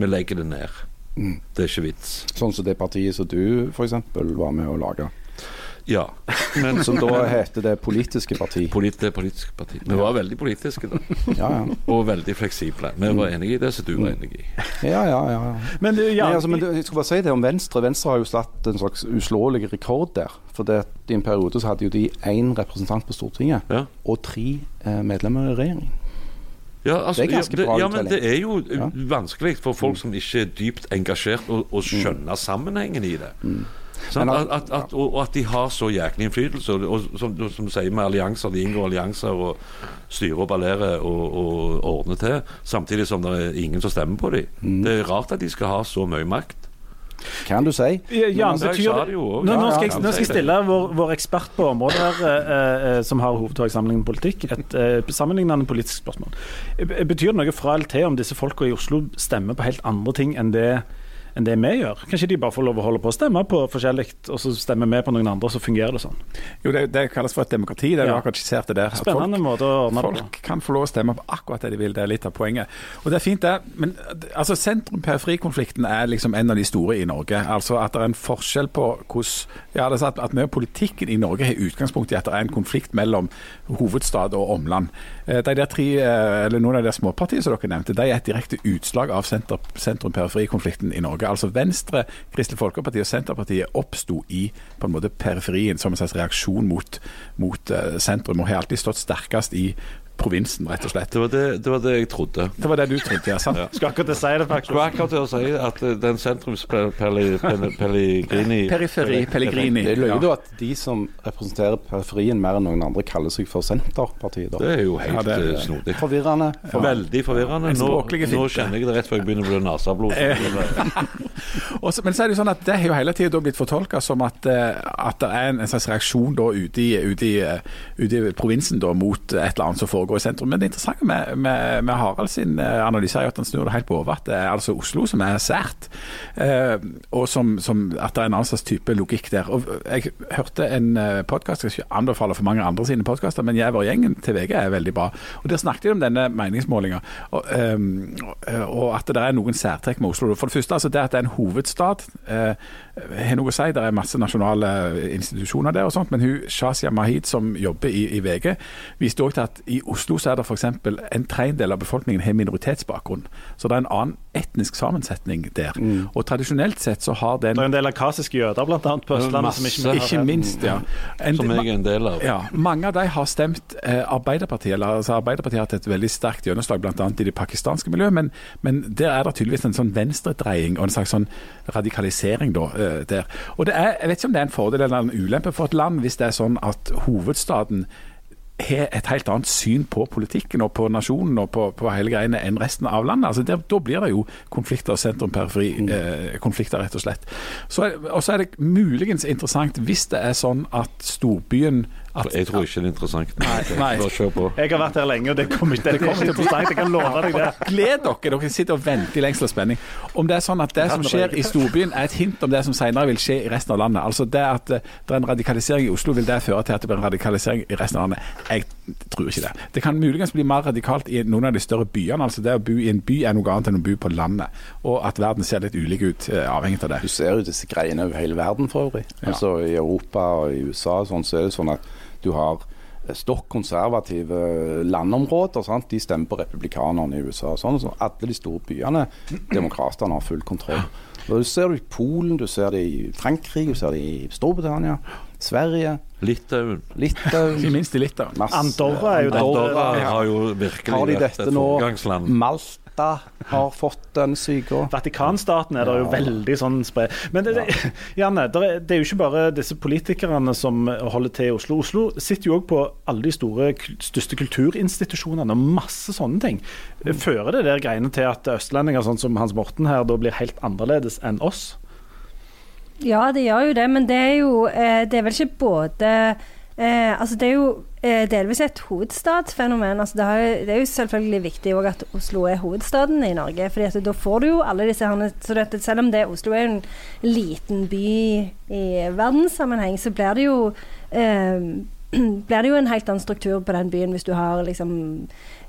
[SPEAKER 1] vi legger det ned.
[SPEAKER 6] Mm.
[SPEAKER 1] Det er ikke vits.
[SPEAKER 6] Sånn som det partiet som du f.eks. var med å lage.
[SPEAKER 1] Ja. Men
[SPEAKER 6] Som da heter det politiske parti.
[SPEAKER 1] polit, det er politisk parti. Vi var veldig politiske da,
[SPEAKER 6] Ja ja.
[SPEAKER 1] og veldig fleksible. Vi
[SPEAKER 6] Mm.
[SPEAKER 1] var enige i det som du var enig i.
[SPEAKER 6] ja, ja, ja, ja.
[SPEAKER 2] Men, du,
[SPEAKER 6] Nei,
[SPEAKER 2] Jan,
[SPEAKER 6] altså, men det- jeg skulle bare si det om Venstre. Venstre har jo slått en slags uslåelig rekord der. For det, at i en periode så hadde jo de én representant på Stortinget
[SPEAKER 1] Ja.
[SPEAKER 6] og tre eh, medlemmer i regjering.
[SPEAKER 1] Ja, altså,
[SPEAKER 6] Det er ganske
[SPEAKER 1] ja, det,
[SPEAKER 6] bra
[SPEAKER 1] ja, men det
[SPEAKER 6] uttelling.
[SPEAKER 1] er jo eh,
[SPEAKER 6] Ja. Mm.
[SPEAKER 1] vanskelig for folk som ikke er dypt engasjert, å, å skjønne sammenhengen i det. Sant?
[SPEAKER 6] Mm. Men
[SPEAKER 1] at,
[SPEAKER 6] al-
[SPEAKER 1] at, at, og og at de har så jæklig innflytelse. Og, og som, du- som du sier med allianser, de inngår allianser og styrer og ballerer og, og ordner til. Samtidig som det er ingen som stemmer på dem.
[SPEAKER 6] Mm.
[SPEAKER 1] Det er rart at de skal ha så mye makt.
[SPEAKER 6] Kan du si?
[SPEAKER 2] Jan,
[SPEAKER 1] altså, jeg
[SPEAKER 2] betyr
[SPEAKER 1] sa
[SPEAKER 2] det
[SPEAKER 1] det jo også.
[SPEAKER 2] nå, nå,
[SPEAKER 1] Ja,
[SPEAKER 2] skal
[SPEAKER 1] ja,
[SPEAKER 2] jeg, nå skal jeg stille vår, vår ekspert på området her, eh, eh, som har hovedfagsamlingen politikk, et eh, sammenlignende politisk spørsmål. Eh, Betyr det noe fra eller til om disse folka i Oslo stemmer på helt andre ting enn det enn det vi gjør. Kanskje de bare får lov å holde på å stemme på forskjellig, og så stemmer vi på noen andre, så fungerer det sånn.
[SPEAKER 4] Jo, det, det kalles for et demokrati, det du
[SPEAKER 2] Ja.
[SPEAKER 4] akkurat skisserte der. at
[SPEAKER 2] Spennende måte å ordne det på.
[SPEAKER 4] Folk kan få lov å stemme på akkurat det de vil, det er litt av poenget. Og det er fint det, men altså, sentrum-periferi-konflikten er liksom en av de store i Norge. Altså at det er en forskjell på hvordan ja, det er sant at mye av politikken i Norge har utgangspunkt i at det er en konflikt mellom hovedstad og omland. Eh, De der tre, eh, eller noen av de der småpartiene som dere nevnte, de er et direkte utslag av senter- sentrum-periferi-konflikten i Norge. Altså Venstre, Kristelig Folkeparti og Senterpartiet oppsto i på en måte periferien som en slags reaksjon mot, mot eh, sentrum, og har alltid stått sterkest i provinsen, rett og slett.
[SPEAKER 1] Det var det, det, var det jeg trodde.
[SPEAKER 4] Det var det du trodde, ja. sant?
[SPEAKER 2] Skal akkurat si det, faktisk.
[SPEAKER 1] Skulle akkurat til å si at eh, den sentrums-Pellegrini
[SPEAKER 4] Periferi, Pellegrini.
[SPEAKER 6] Det løyer
[SPEAKER 4] Ja.
[SPEAKER 6] jo at de som representerer periferien mer enn noen andre, kaller seg for Senterpartiet.
[SPEAKER 1] Det
[SPEAKER 6] da.
[SPEAKER 1] er jo
[SPEAKER 4] Ja,
[SPEAKER 1] helt
[SPEAKER 4] det er-
[SPEAKER 1] eh, snodig.
[SPEAKER 6] Forvirrende.
[SPEAKER 1] Veldig forvirrende.
[SPEAKER 4] En
[SPEAKER 1] Nå,
[SPEAKER 4] språklig
[SPEAKER 1] nå
[SPEAKER 4] Eh. finte.
[SPEAKER 1] kjenner jeg det rett før jeg begynner å blø neseblod.
[SPEAKER 4] Og så- men så er det jo sånn at det har jo hele tida blitt fortolka som at, eh, at det er en, en slags reaksjon da ute i, ute i, eh, ute i provinsen da mot et eller annet som foregår i sentrum. Men det interessante med, med, med Harald sin eh, analyse er jo at han snur det helt på hodet. At det er altså Oslo som er sært, eh, og som, som at det er en annen slags type logikk der. Og jeg hørte en podkast, jeg skal ikke anbefale for mange andre sine podkaster, men jeg var gjengen til VG er veldig bra. Og Der snakket de om denne meningsmålinga, og, ehm, og at det er noen særtrekk med Oslo. For det første altså det at det er en hovedstad, eh, har noe å si. Det er masse nasjonale eh, institusjoner der og sånt, men hun Shazia Mahid som jobber i, i VG, viste òg til at i Oslo så er det f.eks. en tredjedel av befolkningen har minoritetsbakgrunn. Så det er en annen etnisk sammensetning der.
[SPEAKER 5] Mm.
[SPEAKER 4] Og tradisjonelt sett så har den
[SPEAKER 2] Det er en del akasiske jøder, blant annet, på Østlandet. Som ikke,
[SPEAKER 1] Masse.
[SPEAKER 2] vi
[SPEAKER 4] Ikke
[SPEAKER 2] har-
[SPEAKER 4] minst, ja. En,
[SPEAKER 1] som jeg er en del av.
[SPEAKER 4] ja. Mange av de har stemt eh, Arbeiderpartiet. Eller, altså Arbeiderpartiet har hatt et veldig sterkt gjennomslag bl.a. i det pakistanske miljøet, men, men der er det tydeligvis en sånn venstredreiing og en slags sånn radikalisering da, eh, der. Og det er, Jeg vet ikke om det er en fordel eller en ulempe for et land hvis det er sånn at hovedstaden har et helt annet syn på politikken og på nasjonen og på, på hele greiene enn resten av landet. Altså der, da blir det jo konflikter, sentrum-periferi-konflikter, eh, rett og slett. Så er, og så er det muligens interessant hvis det er sånn at storbyen at,
[SPEAKER 1] Jeg tror ikke det er interessant.
[SPEAKER 4] nei.
[SPEAKER 1] Bare kjør på.
[SPEAKER 2] jeg har vært her lenge, og det kommer ikke, det er ikke interessant. Jeg kan love deg det.
[SPEAKER 4] Gled dere, dere sitter og venter i lengsel og spenning. Om det er sånn at det som skjer i storbyen er et hint om det som senere vil skje i resten av landet. Altså det at eh, det er en radikalisering i Oslo, vil det føre til at det blir en radikalisering i resten av landet? Jeg tror ikke det. Det kan muligens bli mer radikalt i noen av de større byene. Altså det å bo i en by er noe annet enn å bo på landet, og at verden ser litt ulik ut eh, avhengig av det.
[SPEAKER 6] Du ser jo disse greiene over hele verden for øvrig.
[SPEAKER 4] Ja.
[SPEAKER 6] Altså I Europa og i USA og sånn, så er det sånn at du har eh, stokk konservative eh, landområder. Sant? De stemmer på republikanerne i USA og sånn. Så alle de store byene, demokratene har full kontroll. Og Du ser det i Polen, du ser det i Frankrike, du ser det i Storbritannia, Sverige,
[SPEAKER 1] Litauen.
[SPEAKER 6] Litauen
[SPEAKER 4] Ikke minst i Litauen.
[SPEAKER 6] masse-
[SPEAKER 2] Andorra er jo
[SPEAKER 1] Andorra
[SPEAKER 2] det.
[SPEAKER 1] har jo
[SPEAKER 6] Har de
[SPEAKER 1] virkelig vært
[SPEAKER 6] dette
[SPEAKER 1] et
[SPEAKER 6] nå?
[SPEAKER 4] Mm.
[SPEAKER 1] foregangsland.
[SPEAKER 6] Malta har fått den syka.
[SPEAKER 2] Vatikanstaten er det jo veldig sånn spre... Men det, det, Janne, der er, det er jo ikke bare disse politikerne som holder til i Oslo. Oslo sitter jo òg på alle de store, kul- største kulturinstitusjonene og masse sånne ting. Fører det der greiene til at østlendinger sånn som Hans Morten her da blir helt annerledes enn oss?
[SPEAKER 3] Ja, det gjør jo det, men det er jo eh, Det er vel ikke både eh, Altså, det er jo eh, delvis et hovedstadsfenomen. Altså, det, har, jo- det er jo selvfølgelig viktig også at Oslo er hovedstaden i Norge. fordi at da får du jo alle disse herne, så det, Selv om det Oslo er jo en liten by i verdenssammenheng, så blir det jo eh, blir det jo en helt annen struktur på den byen hvis du har liksom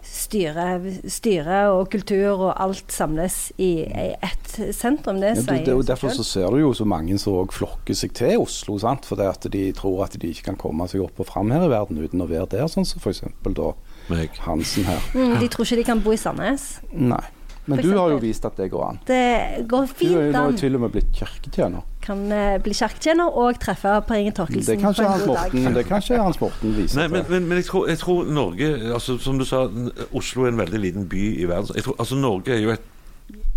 [SPEAKER 3] styre, styre og kultur og alt samles i, i ett sentrum. Det
[SPEAKER 6] Ja,
[SPEAKER 3] sier
[SPEAKER 6] du, det er jo
[SPEAKER 3] seg
[SPEAKER 6] Derfor
[SPEAKER 3] selv.
[SPEAKER 6] så ser du jo så mange som også flokker seg til Oslo. sant? Fordi at de tror at de ikke kan komme seg opp og fram her i verden uten å være der, sånn som f.eks. da
[SPEAKER 1] Meg.
[SPEAKER 6] Hansen her.
[SPEAKER 3] Mm, de tror ikke de kan bo i Sandnes.
[SPEAKER 6] Nei. Men
[SPEAKER 3] For
[SPEAKER 6] du har jo
[SPEAKER 3] eksempel.
[SPEAKER 6] vist at det går an.
[SPEAKER 3] Det går
[SPEAKER 6] Du er jo
[SPEAKER 3] fint
[SPEAKER 6] nå
[SPEAKER 3] an.
[SPEAKER 6] til og med blitt kirketjener.
[SPEAKER 3] Kan eh, bli sjarktjener og treffe Per Inge
[SPEAKER 6] Det
[SPEAKER 3] Torkelsen
[SPEAKER 6] kan
[SPEAKER 3] på
[SPEAKER 6] ikke
[SPEAKER 3] en
[SPEAKER 6] Hans
[SPEAKER 3] god dag.
[SPEAKER 6] Morten, det kan ikke Hans Morten vise
[SPEAKER 1] Nei, men,
[SPEAKER 6] til.
[SPEAKER 1] men, men jeg, tror, jeg tror Norge altså, Som du sa, n- Oslo er en veldig liten by i verden. Jeg tror, altså, Norge er jo et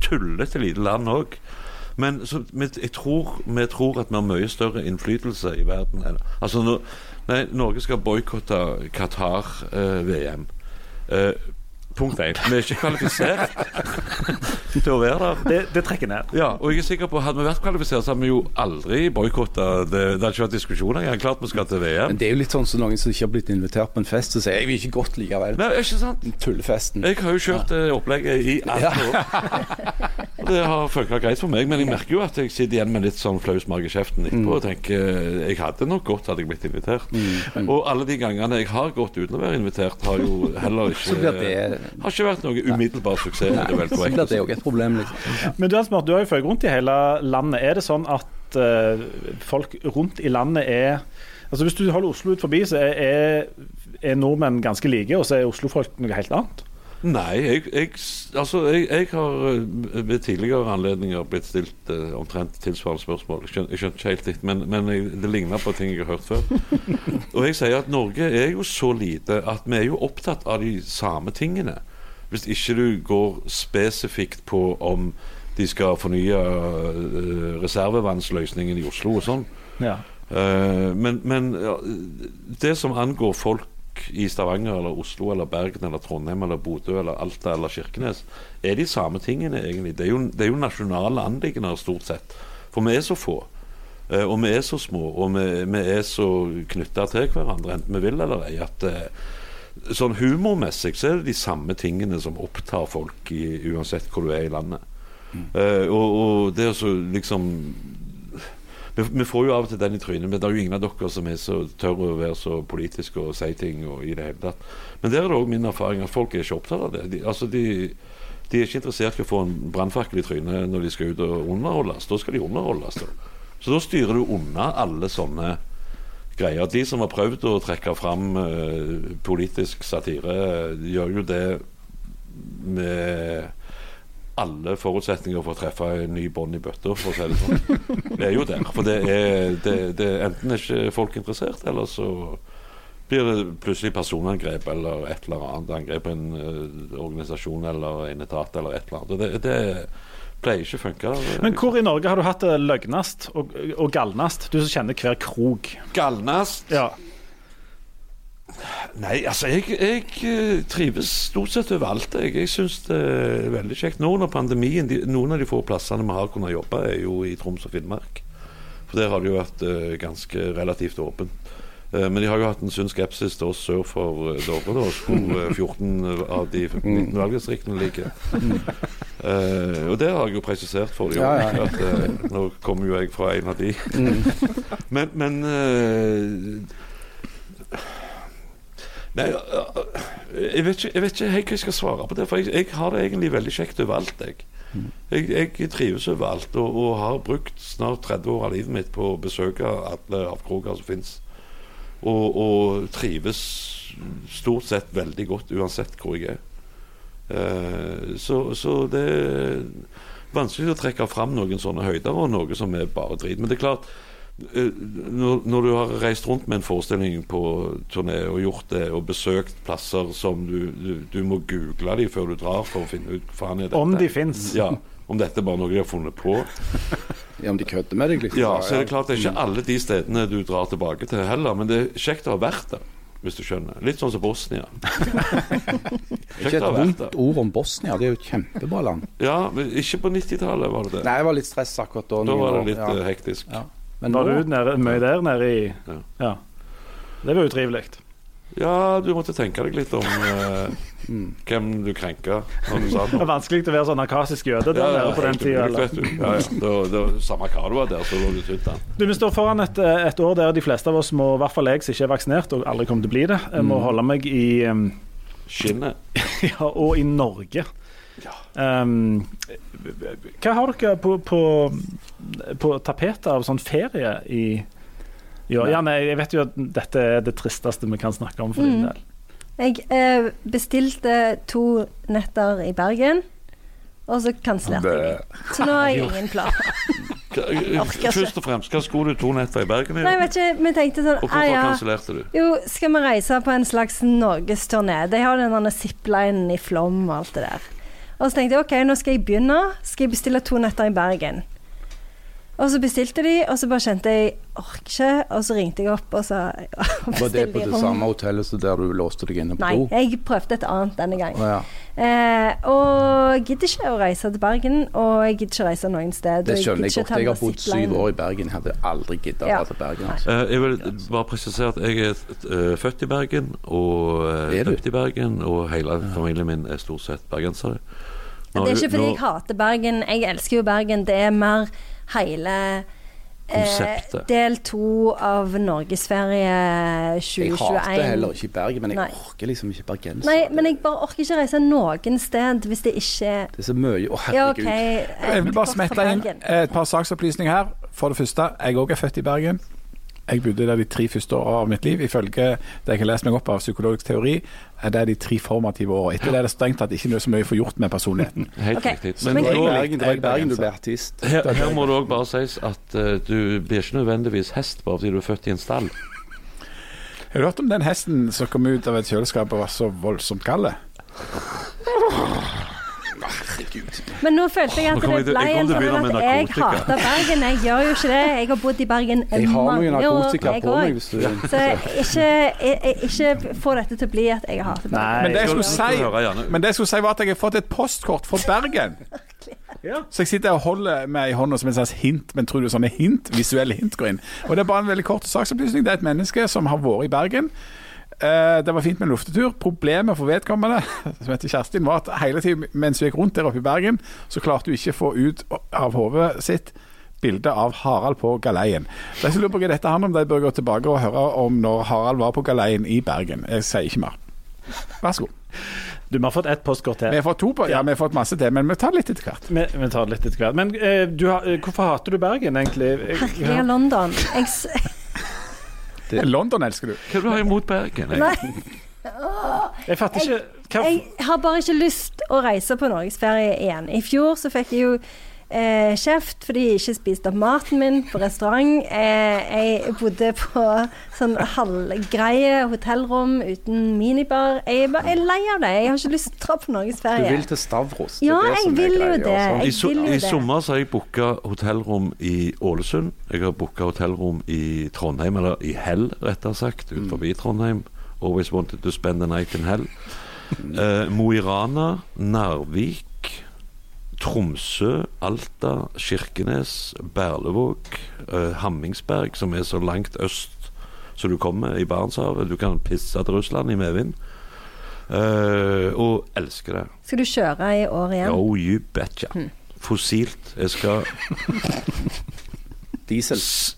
[SPEAKER 1] tullete lite land òg. Men så, men jeg tror, vi tror at vi har mye større innflytelse i verden. enn- Altså, no, nei, Norge skal eh, boikotte Qatar-VM. Eh, punkt én. Vi er ikke kvalifisert til å være der.
[SPEAKER 2] Det, det trekker ned.
[SPEAKER 1] Ja, og jeg er sikker på Hadde vi vært kvalifisert, så hadde vi jo aldri boikotta. Det, det hadde ikke vært diskusjon engang. Klart vi skal til VM.
[SPEAKER 6] Men det er jo litt sått som noen som ikke har blitt invitert på en fest, så sier jeg vil ikke godt likevel.
[SPEAKER 1] Nei, ikke sant?
[SPEAKER 6] Tullefesten.
[SPEAKER 1] Jeg har jo kjørt det opplegget i 18 år. Og det har funka greit for meg, men jeg merker jo at jeg sitter igjen med litt sånn flaus mage i kjeften
[SPEAKER 6] Mm.
[SPEAKER 1] etterpå og tenker eh, jeg hadde nok godt hadde jeg blitt invitert.
[SPEAKER 6] Mm.
[SPEAKER 1] Og alle de gangene jeg har gått uten å være invitert, har jo heller
[SPEAKER 6] Så
[SPEAKER 1] ikke
[SPEAKER 6] blir det
[SPEAKER 1] Har ikke vært noe umiddelbar suksess. er det vel
[SPEAKER 6] så blir
[SPEAKER 1] korrekt.
[SPEAKER 6] det òg et problem, liksom.
[SPEAKER 2] Men du, Hans Morten, du har jo fløyet rundt i hele landet. Er det sånn at eh, folk rundt i landet er Altså Hvis du holder Oslo ut forbi, så er, er, er nordmenn ganske like, og så er oslofolk noe helt annet.
[SPEAKER 1] Nei, jeg, jeg, s- altså, jeg, jeg har eh, ved tidligere anledninger blitt stilt eh, omtrent tilsvarende spørsmål. Jeg skjøn- jeg skjønte ikke helt ditt, men, men jeg, det ligner på ting jeg har hørt før. Og jeg sier at Norge er jo så lite at vi er jo opptatt av de samme tingene. Hvis ikke du går spesifikt på om de skal fornye eh, reservevannsløsningen i Oslo og sånn.
[SPEAKER 2] Ja.
[SPEAKER 1] Eh, men men ja, det som angår folk i Stavanger eller Oslo eller Bergen eller Trondheim eller Bodø eller Alta eller Kirkenes, er de samme tingene egentlig. Det er jo, det er jo nasjonale anliggender stort sett. For vi er så få. eh, Og vi er så små, og vi, vi er så knytta til hverandre, enten vi vil eller ei, at eh, sånn humormessig så er det de samme tingene som opptar folk i, uansett hvor du er i landet. Eh, og, og det å så liksom vi, vi får jo av og til den i trynet, men det er jo ingen av dere som er så tør å være så politiske og si ting og i det hele tatt. Men der er det òg min erfaring at folk er ikke opptatt av det. De, altså de, de er ikke interessert i å få en brannfakkel i trynet når de skal ut og underholdes. Da skal de underholdes. Da. Så da styrer du unna alle sånne greier. De som har prøvd å trekke fram eh, politisk satire, eh, gjør jo det med alle forutsetninger for å treffe en ny bånd i bøtta, for å si det sånn. Det er jo der. For det er, det, det, enten er ikke folk interessert, eller så blir det plutselig personangrep eller et eller annet angrep på en eh, organisasjon eller en etat eller et eller annet. Og Det, det pleier ikke å funke. Det-
[SPEAKER 2] Men hvor i Norge har du hatt det løgnast og, og galnast? Du som kjenner hver krok.
[SPEAKER 1] Galnast
[SPEAKER 2] Ja.
[SPEAKER 1] Nei, altså, jeg, jeg eh, trives stort sett overalt. Jeg, jeg syns det er veldig kjekt. Nå under pandemien, de, noen av de få plassene vi har kunnet jobbe, er jo i Troms og Finnmark. For der har det jo vært eh, ganske relativt åpent. Eh, men de har jo hatt en sunn skepsis til oss sør for uh, Dovre, da, hvor eh, 14 av de
[SPEAKER 5] Mm.
[SPEAKER 1] 19 valgdistriktene ligger. Eh, og det har jeg jo presisert for dem.
[SPEAKER 5] Ja, ja.
[SPEAKER 1] at, eh, nå kommer jo jeg fra en av de.
[SPEAKER 5] Mm.
[SPEAKER 1] men men eh, Nei, øh, øh, jeg vet, ikke, jeg vet ikke helt hva jeg skal svare på det. For jeg, jeg har det egentlig veldig kjekt overalt, jeg. Jeg, jeg trives overalt og, og har brukt snart 30 år av livet mitt på å besøke alle avkroker som fins. Og, og trives stort sett veldig godt uansett hvor jeg er. Eh, så, så det er vanskelig å trekke fram noen sånne høyder og noe som er bare drit. Men det er klart Eh, når, når du har reist rundt med en forestilling på turné og gjort det, og besøkt plasser som du, du, du må google de før du drar for å finne ut hva faen er dette.
[SPEAKER 2] Om de fins.
[SPEAKER 1] Ja, om dette er bare noe de har funnet på.
[SPEAKER 6] Ja, om de kødder med deg, liksom.
[SPEAKER 1] Ja, Mm. så er det klart det er ikke alle de stedene du drar tilbake til heller, men det er kjekt å ha vært der, hvis du skjønner. Litt sånn som Bosnia.
[SPEAKER 6] Ikke
[SPEAKER 1] Kjekt
[SPEAKER 6] et
[SPEAKER 1] å ha vært
[SPEAKER 6] vondt
[SPEAKER 1] der.
[SPEAKER 6] ord om Bosnia, det er jo et kjempebra land.
[SPEAKER 1] Ja, men ikke på 90-tallet var det det.
[SPEAKER 6] Nei, jeg var litt stress akkurat da.
[SPEAKER 1] Da var det litt
[SPEAKER 6] Ja.
[SPEAKER 1] eh, hektisk.
[SPEAKER 6] Ja. Men nå,
[SPEAKER 2] Var du nede, mye der nede i
[SPEAKER 1] Ja.
[SPEAKER 2] Ja. Det var utrivelig.
[SPEAKER 1] Ja, du måtte tenke deg litt om eh,
[SPEAKER 6] Mm.
[SPEAKER 1] hvem du krenka når du sa
[SPEAKER 2] Det
[SPEAKER 1] noe.
[SPEAKER 2] er vanskelig å være sånn narkasisk jøde der nede på den
[SPEAKER 1] helt
[SPEAKER 2] tida.
[SPEAKER 1] umulig, vet du. Ja, ja. Det var, det var, samme hva du var der, så lå du tynt an.
[SPEAKER 2] Du, Vi står foran et, eh, et år der de fleste av oss, må, i hvert fall jeg som ikke er vaksinert, og aldri kommer til å bli det, jeg
[SPEAKER 4] Mm.
[SPEAKER 2] må holde meg i um,
[SPEAKER 1] Skinnet.
[SPEAKER 2] Ja, og i Norge. Um, hva har dere på, på, på tapetet av sånn ferie i i år? Ja, nei, jeg vet jo at dette er det tristeste vi kan snakke om for din del.
[SPEAKER 3] Jeg eh, bestilte to netter i Bergen, og så kansellerte jeg.
[SPEAKER 6] Bø.
[SPEAKER 3] Så nå har jeg ingen plan. ikke.
[SPEAKER 1] Først og fremst, hva skulle du to netter i Bergen i?
[SPEAKER 3] Nei, jeg vet ikke, vi tenkte sånn
[SPEAKER 1] Og
[SPEAKER 3] ah,
[SPEAKER 1] hvorfor
[SPEAKER 3] ja.
[SPEAKER 1] kansellerte du?
[SPEAKER 3] Jo, skal vi reise på en slags norgesturné? De har den derne ziplinen i Flåm og alt det der. Og så tenkte jeg OK, nå skal jeg begynne. Skal jeg bestille to netter i Bergen? Og så bestilte de, og så bare kjente jeg orker ikke. Og så ringte jeg opp og sa
[SPEAKER 6] var det
[SPEAKER 3] bestilte
[SPEAKER 6] på det samme hotellet som der du låste deg inne på
[SPEAKER 3] Nei,
[SPEAKER 6] do?
[SPEAKER 3] jeg prøvde et annet denne gangen.
[SPEAKER 6] Å, ja.
[SPEAKER 3] Eh, og jeg gidder ikke å reise til Bergen, og jeg gidder ikke å reise noen sted.
[SPEAKER 6] Det
[SPEAKER 3] og
[SPEAKER 6] skjønner jeg
[SPEAKER 3] gidder ikke
[SPEAKER 6] godt.
[SPEAKER 3] ta
[SPEAKER 6] Jeg har
[SPEAKER 3] den
[SPEAKER 6] bodd syv
[SPEAKER 3] ziplinen.
[SPEAKER 6] år i Bergen. Jeg hadde aldri giddet å
[SPEAKER 3] Ja.
[SPEAKER 6] dra til Bergen. Altså.
[SPEAKER 1] Eh, Jeg vil bare presisere at jeg er eh, født i Bergen og eh,
[SPEAKER 6] Er du?
[SPEAKER 1] døpt i Bergen, og hele familien min er stort sett bergensere.
[SPEAKER 3] Men Det er ikke fordi
[SPEAKER 1] nå-
[SPEAKER 3] jeg hater Bergen. Jeg elsker jo Bergen. Det er mer hele eh,
[SPEAKER 1] Konseptet.
[SPEAKER 3] del to av Norgesferie
[SPEAKER 6] Jeg
[SPEAKER 3] 2021.
[SPEAKER 6] hater heller ikke Bergen, men jeg
[SPEAKER 3] Nei.
[SPEAKER 6] orker liksom ikke bergenser.
[SPEAKER 3] Nei, men jeg bare orker ikke reise noen sted hvis det ikke er
[SPEAKER 6] Det er så mye Å,
[SPEAKER 3] Ja, OK.
[SPEAKER 6] herregud.
[SPEAKER 4] Jeg vil bare
[SPEAKER 3] kort fra
[SPEAKER 4] smette inn
[SPEAKER 3] Bergen.
[SPEAKER 4] et par saksopplysninger her. For det første, jeg òg er født i Bergen. Jeg bodde der de tre første åra av mitt liv. Ifølge det jeg har lest meg opp av psykologisk teori, er det de tre formative åra. Etter det er det strengt tatt ikke noe så mye får gjort med personligheten.
[SPEAKER 1] Helt
[SPEAKER 3] Ok.
[SPEAKER 1] riktig.
[SPEAKER 6] Men
[SPEAKER 1] Men
[SPEAKER 6] det er i
[SPEAKER 1] da-
[SPEAKER 6] Bergen, det er i
[SPEAKER 4] jeg
[SPEAKER 6] Bergen
[SPEAKER 4] bergenser.
[SPEAKER 6] du blir artist.
[SPEAKER 1] her, her må det òg bare sies at eh, du blir ikke nødvendigvis hest bare fordi du er født i en stall.
[SPEAKER 4] Har du hørt om den hesten som kom ut av et kjøleskap og var så voldsomt kald?
[SPEAKER 3] Men nå følte jeg
[SPEAKER 1] Nå
[SPEAKER 3] at
[SPEAKER 1] kommer jeg
[SPEAKER 3] det
[SPEAKER 1] til-
[SPEAKER 3] ble
[SPEAKER 1] jeg kommer
[SPEAKER 3] en
[SPEAKER 1] til å begynne
[SPEAKER 3] sånn
[SPEAKER 1] med
[SPEAKER 3] at jeg
[SPEAKER 1] narkotika.
[SPEAKER 3] hater Bergen. Jeg gjør jo ikke det. Jeg har bodd i Bergen
[SPEAKER 6] Jeg har
[SPEAKER 3] mange
[SPEAKER 6] noe
[SPEAKER 3] år,
[SPEAKER 6] narkotika
[SPEAKER 3] jeg
[SPEAKER 6] på
[SPEAKER 3] også.
[SPEAKER 6] meg hvis du
[SPEAKER 3] Så ikke, jeg- jeg- ikke få dette til å bli at jeg hater Bergen.
[SPEAKER 4] Men det jeg skulle
[SPEAKER 1] Skal du høre,
[SPEAKER 4] si,
[SPEAKER 1] Janne?
[SPEAKER 4] men det jeg skulle si var at jeg har fått et postkort fra Bergen.
[SPEAKER 2] Ja.
[SPEAKER 4] Så jeg sitter og holder med i hånda som en slags hint, men tror du sånne hint, visuelle hint går inn? Og det er bare en veldig kort saksopplysning. Det er et menneske som har vært i Bergen. Eh, Det var fint med en luftetur. Problemet for vedkommende, som heter Kjerstin, var at hele tiden mens hun gikk rundt der oppe i Bergen, så klarte hun ikke å få ut av hodet sitt bilde av Harald på galeien. Så jeg lurer på hva dette handler om. De bør gå tilbake og høre om når Harald var på galeien i Bergen. Jeg sier ikke mer. Vær så god.
[SPEAKER 2] Du, vi har fått ett postkort
[SPEAKER 4] Vi
[SPEAKER 2] til.
[SPEAKER 4] har fått to på, ja, vi har fått masse til, men vi tar litt etter hvert.
[SPEAKER 2] Vi, vi tar det litt etter hvert. Men eh, du, har- eh, hvorfor hater du Bergen, egentlig?
[SPEAKER 3] Herregelig, London. Jeg, s-
[SPEAKER 4] London elsker du.
[SPEAKER 1] Hva du har du imot Bergen?
[SPEAKER 3] nei,
[SPEAKER 2] Jeg fatter ikke hva,
[SPEAKER 3] jeg har bare ikke lyst å reise på norgesferie igjen. I fjor så fikk jeg jo eh, kjeft fordi jeg ikke spiste opp maten min på restaurant. Eh, jeg bodde på sånn halvgreie hotellrom uten minibar. Jeg, er bare, jeg er lei av det. Jeg har ikke lyst til å dra på
[SPEAKER 6] Du
[SPEAKER 3] norgesferie.
[SPEAKER 6] vil til Stavros.
[SPEAKER 3] Ja, jeg vil jo det.
[SPEAKER 1] I,
[SPEAKER 6] altså.
[SPEAKER 3] Jeg
[SPEAKER 1] so
[SPEAKER 3] vil jo
[SPEAKER 1] I
[SPEAKER 3] det.
[SPEAKER 1] sommer så har jeg booka hotellrom i Ålesund. Jeg har booka hotellrom i Trondheim, eller i Hell, rettere sagt,
[SPEAKER 3] Mm.
[SPEAKER 1] ut forbi Trondheim. Always wanted to spend the night in Hell. Eh, Mo i Rana, Narvik, Tromsø, Alta, Kirkenes, Berlevåg, eh, Hammingsberg, som er så langt øst som du kommer i Barentshavet. Du kan pisse til Russland i medvind. Eh, og elsker det.
[SPEAKER 3] Skal du kjøre i år igjen?
[SPEAKER 1] Oh, you betcha. Fossilt. Jeg skal
[SPEAKER 6] Diesel.
[SPEAKER 1] s-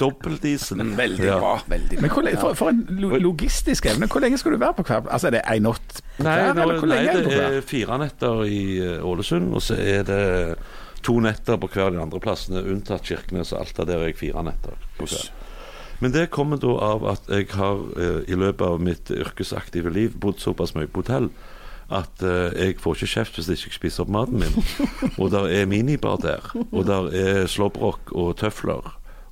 [SPEAKER 1] Dobbeltdiesel.
[SPEAKER 6] Veldig
[SPEAKER 1] Ja.
[SPEAKER 6] bra. Veldig
[SPEAKER 4] Men
[SPEAKER 6] bra.
[SPEAKER 4] hvor lenge, for, for en lo- logistisk evne. Hvor lenge skal du være på hver Altså, er det én natt på
[SPEAKER 1] Nei,
[SPEAKER 4] hver,
[SPEAKER 1] nå,
[SPEAKER 4] eller hvor
[SPEAKER 1] nei,
[SPEAKER 4] lenge er du på
[SPEAKER 1] det
[SPEAKER 4] hver?
[SPEAKER 1] er fire netter i eh, Ålesund, og så er det to netter på hver av de andre plassene, unntatt Kirkenes og Alta. Der er jeg fire netter. på hver. Men det kommer da av at jeg har eh, i løpet av mitt yrkesaktive liv bodd såpass mye på hotell at eh, jeg får ikke kjeft hvis ikke jeg spiser opp maten min. Og der er minibar der. Og der er slåbrok og tøfler.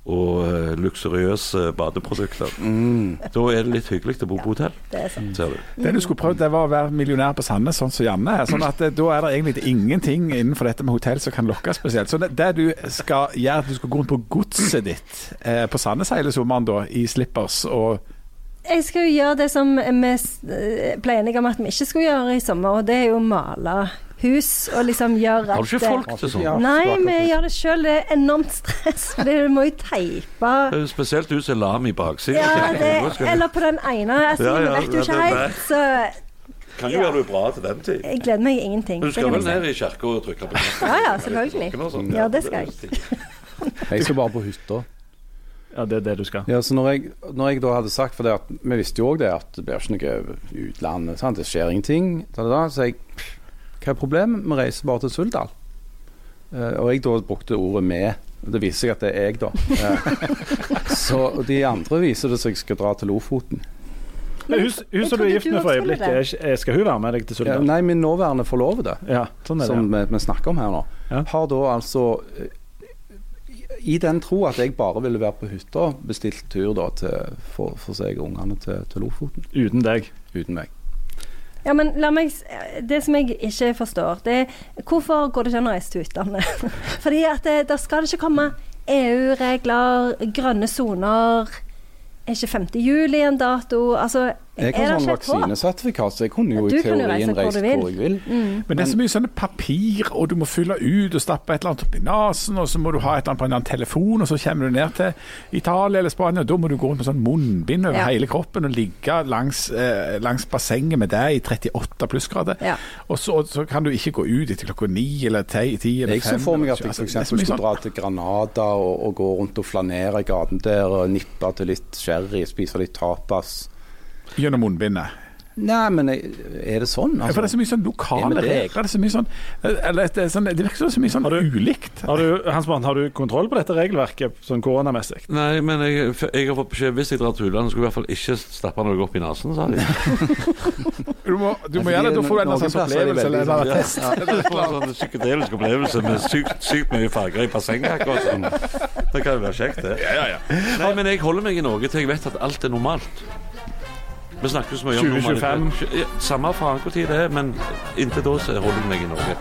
[SPEAKER 1] Og eh, luksuriøse badeprodukter.
[SPEAKER 6] Mm.
[SPEAKER 1] Da er det litt hyggelig å bo på hotell,
[SPEAKER 3] Det er sånn. sant.
[SPEAKER 1] ser du.
[SPEAKER 4] Det du skulle prøvd, det var å være millionær på Sandnes, sånn som Janne. er. Sånn at eh, Da er det egentlig ingenting innenfor dette med hotell som kan lokke spesielt. Så det, det du skal gjøre, at du skal gå rundt på godset ditt eh, på Sandnes hele sommeren, da, i slippers og
[SPEAKER 3] Jeg skal jo gjøre det som vi s- ble enige om at vi ikke skulle gjøre i sommer, og det er jo å male hus og liksom gjøre
[SPEAKER 1] Har du
[SPEAKER 3] at det-
[SPEAKER 1] ikke folk til sånn?
[SPEAKER 6] Ja,
[SPEAKER 3] Nei,
[SPEAKER 6] svart.
[SPEAKER 3] vi gjør det sjøl. Det er enormt stress, for du må jo teipe.
[SPEAKER 1] Det er jo Spesielt du som er lam i baksiden.
[SPEAKER 3] Ja,
[SPEAKER 1] Nå
[SPEAKER 3] det,
[SPEAKER 1] skal du-
[SPEAKER 3] eller på den ene. Altså,
[SPEAKER 1] Ja,
[SPEAKER 3] vi
[SPEAKER 1] ja,
[SPEAKER 3] vet
[SPEAKER 1] ja,
[SPEAKER 3] jo ikke
[SPEAKER 1] det-
[SPEAKER 3] helt, så
[SPEAKER 1] kan
[SPEAKER 3] jo ja. gjøre
[SPEAKER 1] det bra til den tid.
[SPEAKER 3] jeg gleder meg ingenting.
[SPEAKER 1] Du
[SPEAKER 3] det
[SPEAKER 1] skal
[SPEAKER 3] kan
[SPEAKER 1] vel
[SPEAKER 3] jeg si.
[SPEAKER 1] ned i kirka og trykke på knappen?
[SPEAKER 3] Ja, ja, selvfølgelig.
[SPEAKER 1] Klokken og sånn.
[SPEAKER 3] Ja, det skal jeg.
[SPEAKER 6] Jeg skal bare på hytta.
[SPEAKER 2] Ja, det er det du skal.
[SPEAKER 6] Ja, så når jeg, når jeg da hadde sagt For det at, vi visste jo òg det at det blir ikke noe i utlandet. Sant? Det skjer ingenting. Da, da, da, så jeg Hva er problemet? Vi reiser bare til Suldal. Eh, og jeg da brukte ordet 'med'. Det viser seg at det er jeg, da. Eh, så og de andre viser det så jeg skal dra til Lofoten.
[SPEAKER 2] Men hun hun
[SPEAKER 3] jeg
[SPEAKER 2] som du er
[SPEAKER 3] trodde
[SPEAKER 2] gift
[SPEAKER 3] du
[SPEAKER 2] med
[SPEAKER 3] også
[SPEAKER 2] for
[SPEAKER 3] ville
[SPEAKER 2] øyeblikket, er ikke- er- skal hun være med deg til
[SPEAKER 6] Ja,
[SPEAKER 2] Suldal?
[SPEAKER 6] nei, min nåværende forlovede,
[SPEAKER 2] Ja, sånn er det.
[SPEAKER 6] som
[SPEAKER 2] ja.
[SPEAKER 6] vi, vi snakker om her nå,
[SPEAKER 2] Ja.
[SPEAKER 6] har da altså eh, i i den tro at jeg bare ville være på hytta, bestilt tur da til, for, for seg og ungene til, til Lofoten
[SPEAKER 2] Uten deg.
[SPEAKER 6] uten meg.
[SPEAKER 3] Ja, men la meg, s- Det som jeg ikke forstår, det er hvorfor går det ikke an å reise til utlandet? Fordi at det, der skal det ikke komme EU-regler, grønne soner Er ikke 5. juli en dato? Altså,
[SPEAKER 6] Jeg
[SPEAKER 3] er
[SPEAKER 6] har
[SPEAKER 3] det
[SPEAKER 6] sånn
[SPEAKER 3] ikke et håp?
[SPEAKER 6] vaksinesertifikat, så jeg kunne jo
[SPEAKER 3] Du
[SPEAKER 6] i
[SPEAKER 3] kan jo
[SPEAKER 6] teorien
[SPEAKER 3] reise hvor
[SPEAKER 6] reist
[SPEAKER 3] du
[SPEAKER 6] hvor,
[SPEAKER 3] vil. Mm.
[SPEAKER 6] jeg vil.
[SPEAKER 4] Men det er så mye sånne papir, og du må fylle ut og stappe et eller annet opp i nesen, og så må du ha et eller annet på en eller annen telefon, og så kommer du ned til Italia eller Spania, og da må du gå rundt med sånn munnbind over
[SPEAKER 3] Ja.
[SPEAKER 4] hele kroppen og ligge langs, eh, langs bassenget med deg i 38 plussgrader.
[SPEAKER 3] Ja.
[SPEAKER 4] Og så, så kan du ikke gå ut etter klokka ni eller ti ti eller
[SPEAKER 6] Jeg
[SPEAKER 4] fem.
[SPEAKER 6] så for meg
[SPEAKER 4] eller
[SPEAKER 6] at jeg
[SPEAKER 4] tjue.
[SPEAKER 6] f.eks.
[SPEAKER 4] Altså, det er så mye
[SPEAKER 6] skulle
[SPEAKER 4] sånn-
[SPEAKER 6] dra til Granada og, og gå rundt og flanere i gaten der og nippe til litt sherry, spise litt tapas.
[SPEAKER 4] Gjennom munnbindet.
[SPEAKER 6] Nei, men jeg, er det sånn?
[SPEAKER 4] Ja, for det er så mye sånn
[SPEAKER 6] Ja,
[SPEAKER 4] lokale
[SPEAKER 6] men det-
[SPEAKER 4] regler. Det er så mye sånn, eller, det, er sånn, det virker som det er så mye sånn ulikt.
[SPEAKER 2] Har du, Hans Brann, har du kontroll på dette regelverket sånn koronamessig?
[SPEAKER 1] Nei, men jeg, for jeg har fått beskjed hvis jeg drar til utlandet, skulle jeg i hvert fall ikke stappe noe opp i nesen, sa de.
[SPEAKER 4] Du må, du må gjøre det, da får du en eller annen
[SPEAKER 6] Noen
[SPEAKER 4] sånn
[SPEAKER 6] plasser er det
[SPEAKER 4] opplevelse eller en
[SPEAKER 6] veldig
[SPEAKER 4] eller annen
[SPEAKER 1] Ja, Jeg får en sånn psykedelisk opplevelse med sykt, sykt mye farger i bassenget akkurat sånn. Det kan jo være kjekt, det. Nei, men jeg holder meg i Norge til jeg vet at alt er normalt. Vi snakker så mye om
[SPEAKER 2] 2025.
[SPEAKER 1] normalitet. Ja, Samme faen hvor tid det er, men inntil da så holder jeg meg i Norge.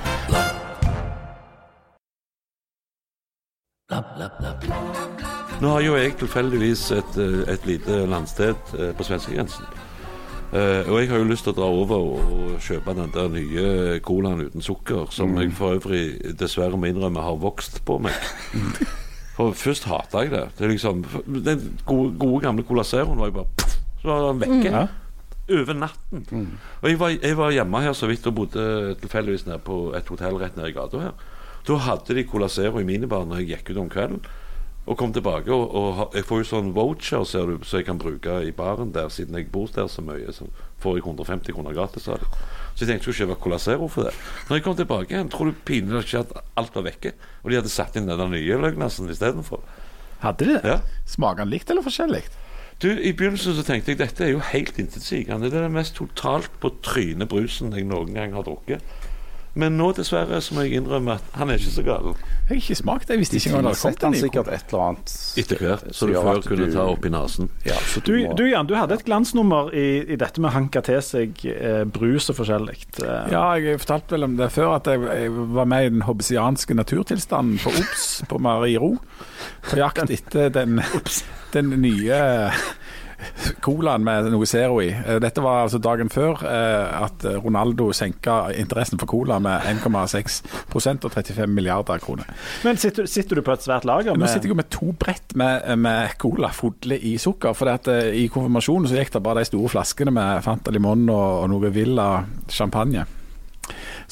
[SPEAKER 1] Nå har jo jeg tilfeldigvis et, eh, et lite landsted eh, på svenskegrensen. Eh, og jeg har jo lyst til å dra over og, og kjøpe den der nye colaen uten sukker, som jeg for øvrig dessverre må innrømme har vokst på meg. For først hata jeg det. det er liksom, den gode, gode gamle Cola Zeroen var jo bare pff, Så var den vekke. Over natten. Og jeg var, jeg var hjemme her så vidt og bodde tilfeldigvis nede på et hotell rett nede i gata her. Da hadde de Cola Zero i minibar når jeg gikk ut om kvelden. Og kom tilbake, og, og ha- jeg får jo sånn voucher ser du, som jeg kan bruke i baren der, siden jeg bor der så mye. Så får jeg 150 kroner gratis av det. Så jeg tenkte jeg skulle kjøpe Cola Zero for det. Når jeg kom tilbake igjen, tror du pinlig ikke at alt var vekke? Og de hadde satt inn den der nye løgnasen istedenfor.
[SPEAKER 2] Hadde de det?
[SPEAKER 1] Ja.
[SPEAKER 4] sånn Smaker den likt eller forskjellig?
[SPEAKER 1] Du, I begynnelsen så tenkte jeg dette er jo helt intetsigende. Det er den mest totalt på trynet brusen jeg noen gang har drukket. Men nå dessverre så må jeg innrømme at han er ikke så gal.
[SPEAKER 4] Jeg har ikke smakt det. Jeg visste ikke engang det
[SPEAKER 6] har
[SPEAKER 4] hadde kommet en
[SPEAKER 6] sett han
[SPEAKER 4] ny
[SPEAKER 6] Altså, sikkert et eller annet
[SPEAKER 1] Etter hvert, så
[SPEAKER 6] som
[SPEAKER 1] du
[SPEAKER 6] gjør
[SPEAKER 1] før
[SPEAKER 6] at
[SPEAKER 1] kunne
[SPEAKER 6] du-
[SPEAKER 1] ta oppi nesen.
[SPEAKER 6] Ja, så
[SPEAKER 2] Du,
[SPEAKER 6] du, må,
[SPEAKER 2] du Jan, du hadde et glansnummer i, i dette med å hanke til seg eh, brus og forskjellig. Eh,
[SPEAKER 4] Ja, jeg fortalte vel om det før, at jeg, jeg var med i den hobbesianske naturtilstanden på Obs på Mariero. På jakt etter den, den nye colaen med noe zero i. Eh, Dette var altså dagen før eh, at Ronaldo senka interessen for cola med 1,6 og 35 milliarder kroner.
[SPEAKER 2] Men sitter, sitter du på et svært lager
[SPEAKER 4] Nå
[SPEAKER 2] med
[SPEAKER 4] sitter jeg jo med to brett med, med cola fodle i sukker. For at, eh, i konfirmasjonen så gikk det bare de store flaskene med Fanta Limon og, og noe Villa champagne.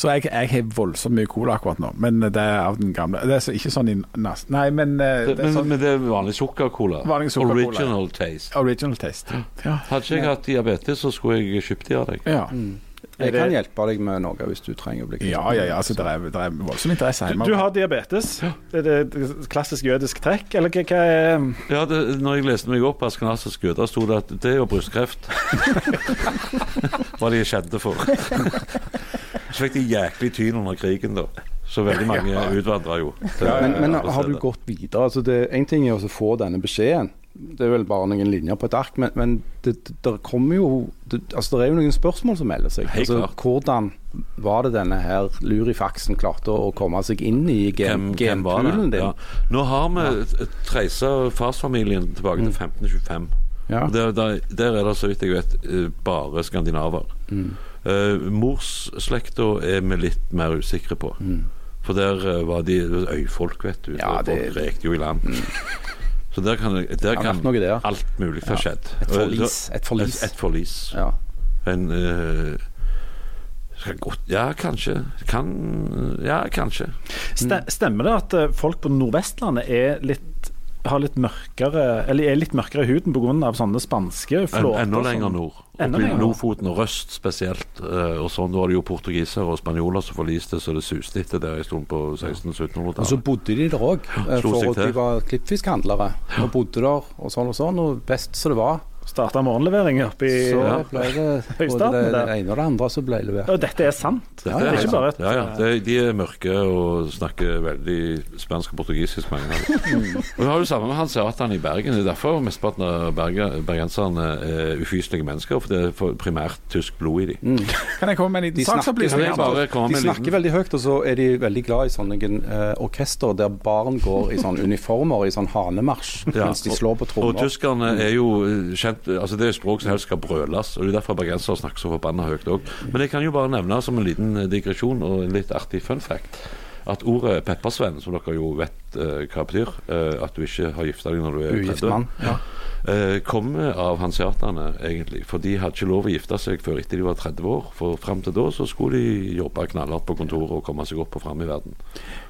[SPEAKER 4] Så jeg, jeg har voldsomt mye cola akkurat nå, men det er av den gamle. Det er så, ikke sånn i nas... Nei, men eh, det er
[SPEAKER 1] Men,
[SPEAKER 4] sånn
[SPEAKER 1] men det er vanlig sukkercola.
[SPEAKER 4] Vanlig sukkercola, ja.
[SPEAKER 1] Original taste.
[SPEAKER 4] original taste. Ja.
[SPEAKER 1] Hadde ikke jeg hatt diabetes, så skulle jeg kjøpt de av deg.
[SPEAKER 4] Ja.
[SPEAKER 6] jeg kan hjelpe deg med noe hvis du trenger å bli kvitt
[SPEAKER 4] ja, ja, ja. Altså, det er, det er voldsom interesse
[SPEAKER 2] Du,
[SPEAKER 4] hjemme.
[SPEAKER 2] du har diabetes. Er det et klassisk jødisk trekk, eller hva, hva er
[SPEAKER 1] Ja, det, når jeg leste meg opp på Askenasisk Gøta, sto det at det er jo brystkreft. Hva de er kjente for. Så fikk de jæklig tyn under krigen, da. Så veldig mange utvandra jo. til
[SPEAKER 6] Men, men
[SPEAKER 1] andre
[SPEAKER 6] har du
[SPEAKER 1] steder.
[SPEAKER 6] gått videre? Altså det, en ting er å få denne beskjeden. Det er vel bare noen linjer på et ark, men, men det, det der kommer jo det, altså det er jo noen spørsmål som melder seg.
[SPEAKER 1] Helt
[SPEAKER 6] Altså,
[SPEAKER 1] klart.
[SPEAKER 6] hvordan var det denne her lurifaksen klarte å komme seg inn i
[SPEAKER 1] Hvem,
[SPEAKER 6] gen-
[SPEAKER 1] hvem var
[SPEAKER 6] genpoolen
[SPEAKER 1] det?
[SPEAKER 6] din?
[SPEAKER 1] Ja. Nå har vi treisa farsfamilien tilbake til 1525.
[SPEAKER 6] Mm. Ja.
[SPEAKER 1] Og Der, der, der er det, så vidt jeg vet, eh, bare skandinaver. Mm. Morsslekta er vi litt mer usikre på.
[SPEAKER 6] Mm.
[SPEAKER 1] For der eh, var de øyfolk, vet du.
[SPEAKER 6] Ja,
[SPEAKER 1] og
[SPEAKER 6] det- Mm.
[SPEAKER 1] Folk rekte jo i land. Så der kan, der
[SPEAKER 6] har
[SPEAKER 1] kan
[SPEAKER 6] vært noe der.
[SPEAKER 1] alt mulig ha skjedd.
[SPEAKER 6] Et forlis. Et forlis.
[SPEAKER 1] Et, et forlis.
[SPEAKER 6] Ja.
[SPEAKER 1] En eh, skal godt, Ja, kanskje. Kan Ja, kanskje.
[SPEAKER 2] Ste- Stemmer det at eh, folk på Nordvestlandet er litt har litt mørkere Eller er litt mørkere i huden pga. sånne spanske
[SPEAKER 1] En,
[SPEAKER 2] flåter?
[SPEAKER 1] enda
[SPEAKER 2] som-
[SPEAKER 1] lenger
[SPEAKER 6] sånn.
[SPEAKER 1] nord.
[SPEAKER 2] Enda
[SPEAKER 1] Oppi
[SPEAKER 2] lenger nord.
[SPEAKER 1] Lofoten og Røst spesielt. eh, og sånn, Da var det jo portugisere og spanjoler som forliste så det suste etter der en stund på
[SPEAKER 6] Og så
[SPEAKER 1] 1600-1700-tallet.
[SPEAKER 6] bodde de der òg,
[SPEAKER 1] slo seg
[SPEAKER 6] for at de
[SPEAKER 1] til.
[SPEAKER 6] var klippfiskhandlere. Og bodde der og sånn og sånn, og best som det var.
[SPEAKER 2] Starta morgenlevering oppe i
[SPEAKER 6] Så
[SPEAKER 2] ja.
[SPEAKER 6] ble det både
[SPEAKER 2] Høystaten
[SPEAKER 6] det,
[SPEAKER 2] der.
[SPEAKER 6] det ene og det andre som ble levert.
[SPEAKER 2] Og dette er sant.
[SPEAKER 1] Dette
[SPEAKER 2] det er
[SPEAKER 1] helt
[SPEAKER 2] ikke bare
[SPEAKER 1] sant.
[SPEAKER 2] et
[SPEAKER 1] ja, ja. Det, de er mørke og snakker veldig spansk og portugisisk, mange av dem. Og Vi har jo samme med han Seatan i Bergen. Det er derfor mesteparten av berge- bergenserne er ufyselige mennesker. For det er for primært tysk blod i dem.
[SPEAKER 6] Mm.
[SPEAKER 4] Kan jeg komme med en
[SPEAKER 6] De
[SPEAKER 4] liten saksopplysning?
[SPEAKER 1] snakker- Kan jeg bare komme
[SPEAKER 6] de
[SPEAKER 1] med en liten-
[SPEAKER 6] snakker veldig høyt, og så er de veldig glad i sånne eh, orkester der barn går i sånne uniformer, i sånn hanemarsj,
[SPEAKER 1] Ja,
[SPEAKER 6] mens de slår på
[SPEAKER 1] Og
[SPEAKER 6] trommer.
[SPEAKER 1] tyskerne er jo eh, kjent Altså Det er jo språk som helst skal brøles, og det er derfor bergensere snakker så forbanna høyt òg. Men jeg kan jo bare nevne som en liten eh, digresjon og en litt artig fun fact at ordet peppersvenn, som dere jo vet eh, hva betyr, eh, at du ikke har gifta deg når du er
[SPEAKER 6] Ugift
[SPEAKER 1] 30
[SPEAKER 6] mann. Ja.
[SPEAKER 1] eh, kommer av hanseaterne, egentlig. For de hadde ikke lov å gifte seg før etter de var 30 år. For fram til da så skulle de jobbe knallhardt på kontoret og komme seg opp og fram i verden.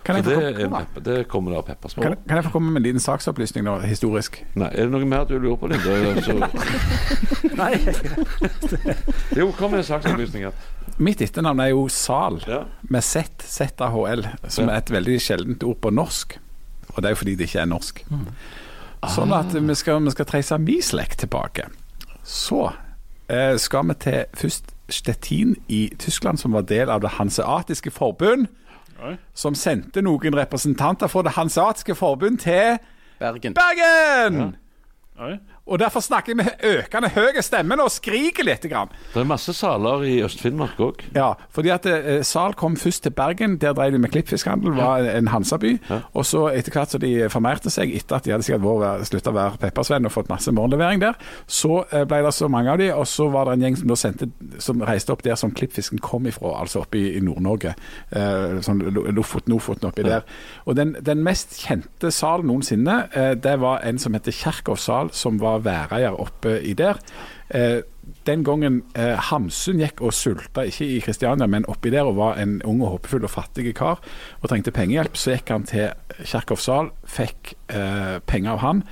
[SPEAKER 4] Kan
[SPEAKER 1] Så
[SPEAKER 4] jeg få
[SPEAKER 1] det,
[SPEAKER 4] komme-
[SPEAKER 1] er en pepp- det kommer av peppersvenn.
[SPEAKER 4] Kan, jeg- kan jeg få komme med en liten saksopplysning nå, historisk?
[SPEAKER 1] Nei, er det noe mer du lurer på, Linde? Eller Så...
[SPEAKER 2] Nei.
[SPEAKER 1] jo, kom med saksopplysninger.
[SPEAKER 4] Mitt etternavn er jo Sal,
[SPEAKER 1] Ja.
[SPEAKER 4] med Z, ZAHL, som er et veldig sjeldent ord på norsk. Og det er jo fordi det ikke er norsk. Sånn at vi skal, vi skal treise min slekt tilbake. Så eh, skal vi til først Stettin i Tyskland, som var del av det hanseatiske forbund. Som sendte noen representanter fra det hanseatiske forbund til
[SPEAKER 6] Bergen.
[SPEAKER 4] Bergen!
[SPEAKER 2] Oi.
[SPEAKER 4] Og derfor snakker jeg med økende høy stemme og skriker lite grann.
[SPEAKER 1] Det er masse saler i Øst-Finnmark òg.
[SPEAKER 4] Ja, fordi at eh, Sal kom først til Bergen. Der drev de med klippfiskhandel, var en- en Hansaby. Og så etter hvert som de formerte seg, etter at de hadde sikkert vært- slutta å være peppersvenn og fått masse morgenlevering der, så eh, ble det så mange av de, og så var det en gjeng som da sendte som reiste opp der som klippfisken kom ifra, altså oppe i, i Nord-Norge. Eh, sånn Lo- Lofoten, Ofoten oppi der. Og den, den mest kjente sal noensinne, eh, det var en som heter Kjerkov sal, som var væreier oppe i der. Eh, den gangen eh, Hamsun gikk og sulta, ikke i Kristiania, men oppi der, og var en ung og håpefull og fattig kar og trengte pengehjelp, så gikk han til Kjerkov Sal, fikk eh, penger av han.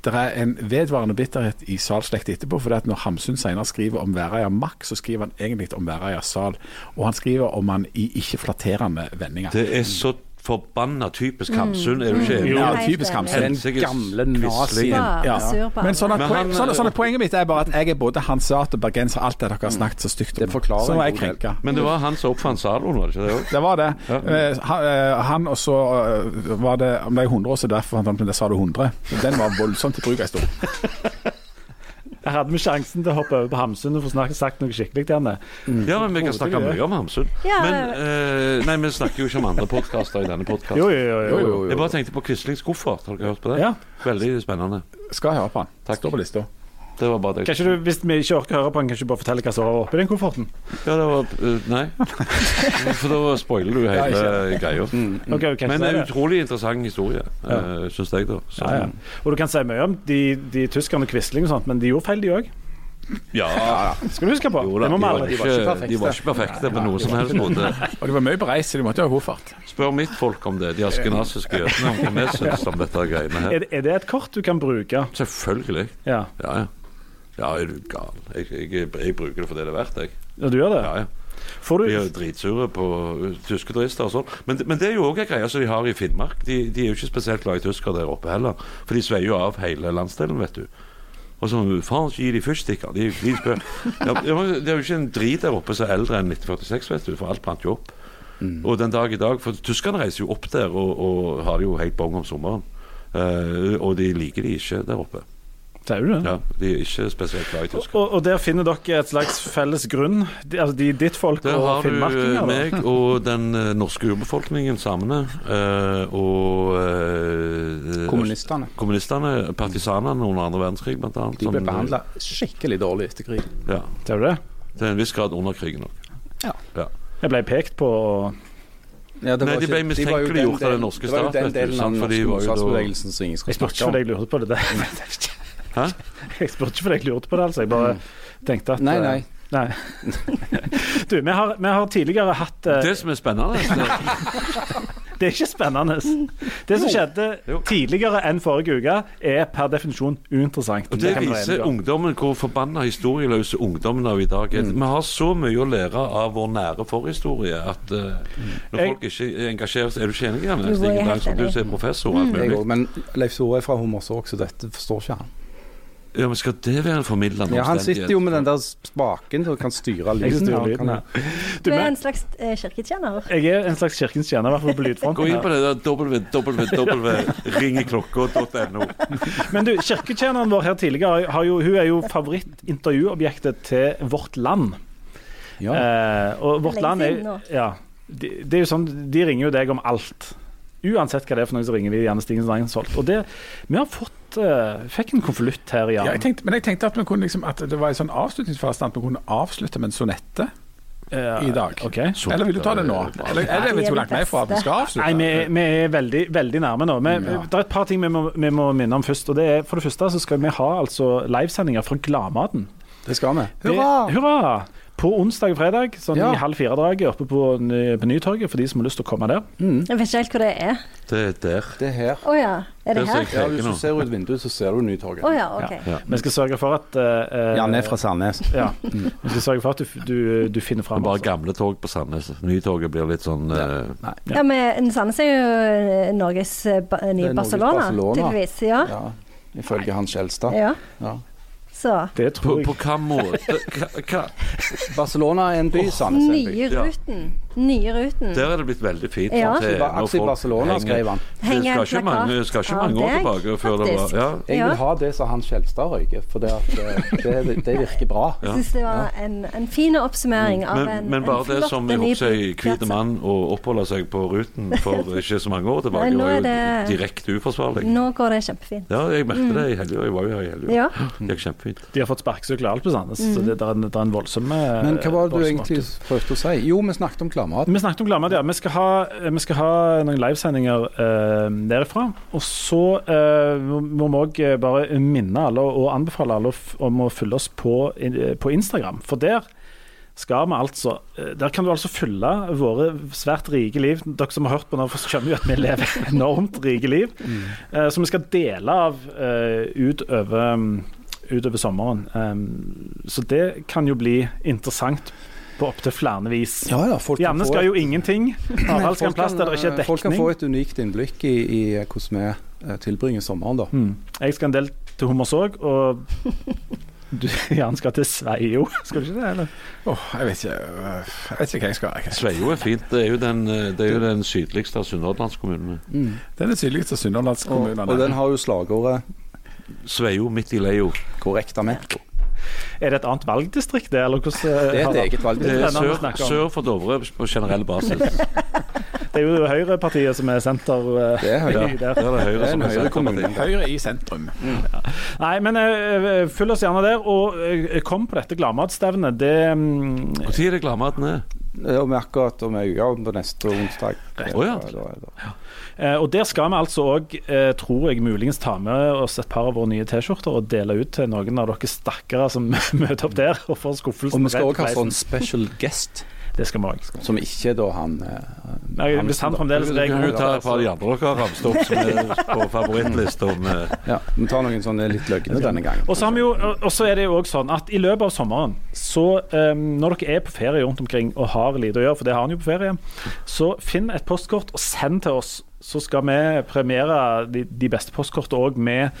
[SPEAKER 4] Det er en vedvarende bitterhet i salslekt etterpå, for når Hamsun senere skriver om Væreia Mack, så skriver han egentlig om Væreia Sal, og han skriver om han i ikke flatterende vendinger.
[SPEAKER 1] Det er så Forbanna typisk Hamsun, er du ikke enig?
[SPEAKER 3] Jo.
[SPEAKER 4] Ja,
[SPEAKER 3] Helt
[SPEAKER 4] typisk
[SPEAKER 3] enig.
[SPEAKER 4] Hamsun.
[SPEAKER 6] Den
[SPEAKER 1] Helsikes
[SPEAKER 6] gamle
[SPEAKER 1] quisling.
[SPEAKER 6] nazien.
[SPEAKER 3] Bare
[SPEAKER 4] Ja.
[SPEAKER 3] sur på
[SPEAKER 4] Men sånn at,
[SPEAKER 1] Men
[SPEAKER 4] poen,
[SPEAKER 1] han-
[SPEAKER 4] sånn,
[SPEAKER 6] eh,
[SPEAKER 4] sånn at Poenget mitt er bare at jeg er både hanseat og bergenser, alt det dere har snakket så stygt om.
[SPEAKER 6] Det forklarer
[SPEAKER 4] Så var
[SPEAKER 6] en
[SPEAKER 4] jeg
[SPEAKER 6] god del.
[SPEAKER 4] krenka.
[SPEAKER 1] Men det var han som oppfant saloen, var det ikke det òg?
[SPEAKER 4] Det var det.
[SPEAKER 1] Ja.
[SPEAKER 4] Eh, Han, eh, han og så eh, var det Om det er 100 år, så derfor fant han på det, sa du 100. Den var voldsomt i bruk en stund.
[SPEAKER 2] Jeg hadde vi sjansen til å hoppe over på Hamsun og få snakke, sagt noe skikkelig til henne.
[SPEAKER 1] Ja, men vi kan snakke mye om Hamsun.
[SPEAKER 3] Ja,
[SPEAKER 1] Men
[SPEAKER 3] ja,
[SPEAKER 1] eh, Nei, vi snakker jo ikke om andre podkaster i denne
[SPEAKER 2] Jo,
[SPEAKER 1] podkasten.
[SPEAKER 2] jo, jo. jo.
[SPEAKER 1] Jeg bare tenkte på Quislings koffert. Har dere hørt på det?
[SPEAKER 2] Ja.
[SPEAKER 1] Veldig spennende.
[SPEAKER 4] Skal høre på han. Står på lista.
[SPEAKER 1] Det var bare det.
[SPEAKER 2] Kanskje du, Hvis vi ikke orker å høre på den, kan ikke du bare fortelle hva som var oppi den kofferten?
[SPEAKER 1] Ja, det var eh, Nei. For da spoiler du hele greia.
[SPEAKER 2] Ok, Mm. kanskje
[SPEAKER 1] Mm. Men
[SPEAKER 2] det
[SPEAKER 1] en
[SPEAKER 2] er det.
[SPEAKER 1] utrolig interessant historie, ja. syns jeg, da. Så,
[SPEAKER 2] Ja, ja. Og du kan si mye om de, de tyskerne og Quisling og sånt, men de gjorde feil, de òg.
[SPEAKER 1] ja.
[SPEAKER 2] Skal du huske på.
[SPEAKER 1] Jo da, de
[SPEAKER 2] det må vi
[SPEAKER 1] var
[SPEAKER 2] aldri
[SPEAKER 1] ikke, de var ikke perfekte på noen som helst måte.
[SPEAKER 4] Og de var mye på reis, så de måtte jo ha koffert.
[SPEAKER 1] Spør mitt folk om det, de askenasiske jødene, om hva vi syns om dette greiene her.
[SPEAKER 2] er, det- er det et kort du kan bruke?
[SPEAKER 1] Selvfølgelig.
[SPEAKER 2] Ja,
[SPEAKER 1] Ja, ja. Ja, er du gal. Jeg, jeg, jeg bruker det for det det er verdt, jeg.
[SPEAKER 2] ja du gjør det?
[SPEAKER 1] Ja, ja.
[SPEAKER 2] Får
[SPEAKER 1] De er jo
[SPEAKER 2] du
[SPEAKER 1] dritsure på uh, tyske turister og sånn. Men, men det er jo òg en greie som de har i Finnmark. De, de er jo ikke spesielt glad i tyskere der oppe heller. For de sveier jo av hele landsdelen, vet du. Og sånn Faen, ikke gi de fyrstikker. De, de spør ja, men Det er jo ikke en drit der oppe som er eldre enn 1946, vet du. For alt brant jo opp. Og den dag i dag For tyskerne reiser jo opp der og, og har det jo helt bong om sommeren. Eh, og de liker de ikke der oppe.
[SPEAKER 2] Sier du det?
[SPEAKER 1] Ja, De er ikke spesielt glad i tyskere.
[SPEAKER 2] Og, og der finner dere et slags felles grunn? De, altså de, ditt folk
[SPEAKER 1] Der
[SPEAKER 2] og
[SPEAKER 1] har du eh,
[SPEAKER 2] finnmarkinger? da?
[SPEAKER 1] meg og den eh, norske urbefolkningen samene. eh, og eh,
[SPEAKER 6] Kommunistene.
[SPEAKER 1] Kommunistene, partisanene under andre verdenskrig, blant annet.
[SPEAKER 6] De
[SPEAKER 1] som-
[SPEAKER 6] ble
[SPEAKER 1] eh,
[SPEAKER 6] behandla skikkelig dårlig etter krigen.
[SPEAKER 1] Ja,
[SPEAKER 2] Ser du det?
[SPEAKER 1] til en viss grad under krigen òg.
[SPEAKER 2] Jeg ble pekt på og
[SPEAKER 6] Ja, det
[SPEAKER 1] Nei,
[SPEAKER 6] var
[SPEAKER 1] de ble
[SPEAKER 6] ikke- de var jo
[SPEAKER 1] mistenkeliggjort
[SPEAKER 6] den
[SPEAKER 1] av
[SPEAKER 6] delen-
[SPEAKER 1] den norske
[SPEAKER 6] Det var jo
[SPEAKER 1] stat,
[SPEAKER 6] den
[SPEAKER 1] vet du,
[SPEAKER 6] delen av
[SPEAKER 1] sant,
[SPEAKER 6] den
[SPEAKER 1] for de
[SPEAKER 6] norske
[SPEAKER 1] var jo da-
[SPEAKER 6] motstandsbevegelsen som ingen
[SPEAKER 2] Jeg
[SPEAKER 6] skal
[SPEAKER 2] spurte
[SPEAKER 6] snakke
[SPEAKER 2] ikke
[SPEAKER 6] om.
[SPEAKER 2] fordi jeg lurte på det. det.
[SPEAKER 1] Hæ?
[SPEAKER 6] Eh,
[SPEAKER 2] Jeg spurte ikke fordi jeg lurte på det, altså. Jeg bare tenkte at
[SPEAKER 6] Nei,
[SPEAKER 2] eh,
[SPEAKER 6] nei.
[SPEAKER 2] Nei. Du, vi har, vi har tidligere hatt eh,
[SPEAKER 1] Det som er spennende det-
[SPEAKER 2] Det er ikke spennende. Det som skjedde
[SPEAKER 1] Jo.
[SPEAKER 2] tidligere enn forrige uke, er per definisjon uinteressant.
[SPEAKER 1] Og det
[SPEAKER 2] kan vi være
[SPEAKER 1] viser
[SPEAKER 2] enige om.
[SPEAKER 1] ungdommen hvor forbanna historieløse ungdommen av i dag
[SPEAKER 6] Mm.
[SPEAKER 1] er. Vi har så mye å lære av vår nære forhistorie at eh, når
[SPEAKER 2] Jeg-
[SPEAKER 1] folk ikke engasjerer seg Er du ikke enig, Janne?
[SPEAKER 3] Jo, jeg er
[SPEAKER 1] Stigen
[SPEAKER 3] helt
[SPEAKER 1] Langsson, Du
[SPEAKER 3] enig.
[SPEAKER 1] som er professor. og alt
[SPEAKER 6] Mm. Jeg
[SPEAKER 1] mulig.
[SPEAKER 6] også, men Leif Tore er fra Hummersåk, så dette forstår ikke han.
[SPEAKER 1] Ja, men Skal det være en formidlende
[SPEAKER 6] Ja, Han
[SPEAKER 1] omstendighet?
[SPEAKER 6] sitter jo med den der spaken og kan styre
[SPEAKER 2] Jeg
[SPEAKER 6] lyden.
[SPEAKER 2] styrer
[SPEAKER 6] og
[SPEAKER 2] lyden
[SPEAKER 6] kan-
[SPEAKER 2] her. Du,
[SPEAKER 3] Du er
[SPEAKER 2] men-
[SPEAKER 3] en slags eh, kirketjener.
[SPEAKER 2] Jeg er en slags kirkens tjener, i hvert fall på
[SPEAKER 1] Gå
[SPEAKER 2] lydfronten.
[SPEAKER 1] inn på
[SPEAKER 2] her.
[SPEAKER 1] det der www.ringeklokka.no.
[SPEAKER 2] Men du, kirketjeneren vår her tidligere har jo, hun er jo favorittintervjuobjektet til Vårt Land.
[SPEAKER 6] Ja.
[SPEAKER 2] Eh, og Vårt
[SPEAKER 3] Lenge
[SPEAKER 2] Land er,
[SPEAKER 3] siden nå.
[SPEAKER 2] ja, de, det er jo sånn, de ringer jo deg om alt. Uansett hva det er for noe, så ringer de gjerne Stigen Langensholt. Og det, vi har fått eh, fikk en konvolutt her,
[SPEAKER 4] Ja, jeg
[SPEAKER 2] Jan.
[SPEAKER 4] tenkte, men jeg tenkte at, vi kunne liksom, at det var en sånn avslutningsfase at vi kunne avslutte med en sonette
[SPEAKER 2] Eh,
[SPEAKER 4] i dag.
[SPEAKER 2] ok.
[SPEAKER 4] Eller vil du ta det nå? Eller, eller jeg vet ikke hvor langt vi er fra at vi skal avslutte.
[SPEAKER 2] Nei, vi, er- vi er veldig, veldig nærme nå. Vi, Det er et par ting vi må, vi må minne om først. Og det er, for det første så skal vi ha altså livesendinger fra Gladmaten.
[SPEAKER 6] Det skal vi.
[SPEAKER 2] Det- Hurra! På onsdag og fredag, sånn
[SPEAKER 6] Ja.
[SPEAKER 2] i halv fire-draget oppe på, Ny- på Nytorget, for de som har lyst til å komme der.
[SPEAKER 3] Jeg vet ikke helt hvor det er.
[SPEAKER 1] Det er der.
[SPEAKER 6] Det er her.
[SPEAKER 3] Å ja, er det
[SPEAKER 1] Der ser jeg
[SPEAKER 3] her?
[SPEAKER 6] Ja,
[SPEAKER 1] kreker
[SPEAKER 6] Hvis du
[SPEAKER 1] nå.
[SPEAKER 6] ser ut vinduet, så ser du Nytorget.
[SPEAKER 3] Å ja, OK.
[SPEAKER 1] Ja.
[SPEAKER 2] Vi skal sørge for at eh, eh,
[SPEAKER 6] Ja, han er fra Mm. Sandnes.
[SPEAKER 2] ja. Vi skal sørge for at du, f- du, du finner
[SPEAKER 1] Det er
[SPEAKER 2] fram.
[SPEAKER 1] bare
[SPEAKER 2] altså.
[SPEAKER 1] gamle tog på Sandnes. Nytoget blir litt sånn eh,
[SPEAKER 3] Ja, men Sandnes er jo eh, Norges eh, ba nye
[SPEAKER 6] Norges
[SPEAKER 3] Barcelona,
[SPEAKER 6] Barcelona.
[SPEAKER 3] tydeligvis. Ja.
[SPEAKER 6] Ja, Ifølge Hans Skjelstad.
[SPEAKER 3] ja.
[SPEAKER 6] Ja.
[SPEAKER 3] Så
[SPEAKER 2] Det
[SPEAKER 1] på,
[SPEAKER 2] tror jeg.
[SPEAKER 1] på hva måte hva, hva?
[SPEAKER 6] Barcelona er en by, Sandnes er en by.
[SPEAKER 3] nye
[SPEAKER 1] Ja.
[SPEAKER 3] ruten. Nye ruten.
[SPEAKER 1] Der er det blitt veldig fint.
[SPEAKER 3] Ja.
[SPEAKER 1] sant? Det
[SPEAKER 6] Det
[SPEAKER 1] er
[SPEAKER 6] var
[SPEAKER 1] når
[SPEAKER 6] Axel
[SPEAKER 1] folk
[SPEAKER 6] Barcelona,
[SPEAKER 1] henger-
[SPEAKER 6] skrev han.
[SPEAKER 1] Det
[SPEAKER 3] Henger
[SPEAKER 1] skal ikke
[SPEAKER 3] en
[SPEAKER 1] mange,
[SPEAKER 3] plakat
[SPEAKER 1] skal ikke
[SPEAKER 3] av
[SPEAKER 1] mange år
[SPEAKER 3] deg,
[SPEAKER 1] tilbake før det var
[SPEAKER 3] faktisk.
[SPEAKER 1] ja.
[SPEAKER 6] Jeg
[SPEAKER 3] Ja.
[SPEAKER 6] vil ha det som Hans Skjelstad røyker, for det, at, eh, det, det virker bra.
[SPEAKER 3] Jeg synes det var en, en fin oppsummering av
[SPEAKER 1] Mm.
[SPEAKER 3] en,
[SPEAKER 1] Men, men
[SPEAKER 3] en
[SPEAKER 1] bare
[SPEAKER 3] flott
[SPEAKER 1] det som jeg
[SPEAKER 3] ny
[SPEAKER 1] håper jeg hvite
[SPEAKER 3] plass.
[SPEAKER 1] mann å oppholde seg på ruten for ikke så mange år tilbake,
[SPEAKER 3] Nei, nå
[SPEAKER 1] var jo
[SPEAKER 3] er det-
[SPEAKER 1] direkte uforsvarlig.
[SPEAKER 3] Nå går det kjempefint.
[SPEAKER 1] Ja, jeg merket det i helga. Jeg var jo her i helga.
[SPEAKER 3] Ja.
[SPEAKER 1] Det gikk kjempefint.
[SPEAKER 2] De har fått sparkesykler alt på Sandnes, så det, det, er en, det er en voldsom eh,
[SPEAKER 6] Mm. Men hva var det du
[SPEAKER 2] voldsom
[SPEAKER 6] egentlig prøvde å si? Jo, vi snakket om klammehatten.
[SPEAKER 2] Vi snakket om Glamad, ja. Vi skal ha, vi skal ha noen livesendinger eh, derifra. Og så eh, må vi òg bare minne alle og anbefale alle f- om å følge oss på, eh, på Instagram. For der skal vi altså eh, Der kan du altså følge våre svært rike liv. Dere som har hørt på nå, skjønner jo at vi lever enormt rike liv. Eh, som vi skal dele av eh, utover utover sommeren. Eh, så det kan jo bli interessant på opptil flere vis.
[SPEAKER 5] Ja, ja, folk kan
[SPEAKER 2] Janne
[SPEAKER 5] få-
[SPEAKER 2] skal jo ingenting. Harald skal
[SPEAKER 5] Folk
[SPEAKER 2] en plass
[SPEAKER 5] kan,
[SPEAKER 2] der det ikke er
[SPEAKER 5] eh, Folk kan
[SPEAKER 2] dekning.
[SPEAKER 5] få et unikt innblikk i, i hvordan vi eh, tilbringer sommeren, da.
[SPEAKER 2] Mm. Jeg skal en del til Hummersåk, og du, Jan skal til Sveio. Skal du ikke det, eller?
[SPEAKER 4] Åh, jeg, vet ikke, øh, jeg vet ikke hva jeg skal. Jeg-
[SPEAKER 1] Sveio er fint. Det er jo den, eh, det er jo den sydligste av sunnhordlandskommunene.
[SPEAKER 4] Det er det sydligste
[SPEAKER 5] Og,
[SPEAKER 4] sunnhordlandskommunene.
[SPEAKER 5] og den har jo slagordet
[SPEAKER 1] Sveio midt i leio.
[SPEAKER 5] 'korrekta Mekko'.
[SPEAKER 2] Er det et annet valgdistrikt, det, eller hvordan eh,
[SPEAKER 6] Det er et eget valg.
[SPEAKER 1] Det er
[SPEAKER 2] Spennende å
[SPEAKER 1] sør,
[SPEAKER 2] snakke om.
[SPEAKER 1] sør for Dovre på generell basis.
[SPEAKER 2] Det er jo Høyrepartiet som er senter eh,
[SPEAKER 6] Det er Høyre.
[SPEAKER 2] i der.
[SPEAKER 1] Der er det Høyre
[SPEAKER 6] Det er en
[SPEAKER 1] som er
[SPEAKER 6] Høyre kommune.
[SPEAKER 1] senterpartiet.
[SPEAKER 4] Høyre i sentrum.
[SPEAKER 2] Nei, men eh, følg oss gjerne der, og eh, kom på dette gladmatstevnet. Det mm,
[SPEAKER 1] Når er det gladmaten er?
[SPEAKER 5] Eh, Om akkurat om ei uke, på neste onsdag.
[SPEAKER 1] Å ja.
[SPEAKER 5] Da- da- da-
[SPEAKER 2] Eh, Og der skal vi altså òg, eh, tror jeg, muligens ta med oss et par av våre nye T-skjorter og dele ut til noen av dere stakkarer som møter opp der og får skuffelsen.
[SPEAKER 5] Og vi skal
[SPEAKER 2] rett
[SPEAKER 5] også ha
[SPEAKER 2] i
[SPEAKER 5] sånn
[SPEAKER 2] fleisen.
[SPEAKER 5] special guest,
[SPEAKER 2] Det skal vi òg.
[SPEAKER 6] Som ikke er da han eh,
[SPEAKER 2] Nei, Hvis han fremdeles
[SPEAKER 1] Kan
[SPEAKER 2] regner
[SPEAKER 1] du ta et par av de andre dere har ramset opp som er på eh, favorittlista med
[SPEAKER 6] Ja, vi tar noen sånne litt løgne denne gangen.
[SPEAKER 2] Og så har vi jo, og- og så er det jo også sånn at i løpet av sommeren, så eh, når dere er på ferie rundt omkring og har lite å gjøre, for det har han jo på ferie, så finn et postkort og send til oss. Så skal vi premiere de, de beste postkortene òg med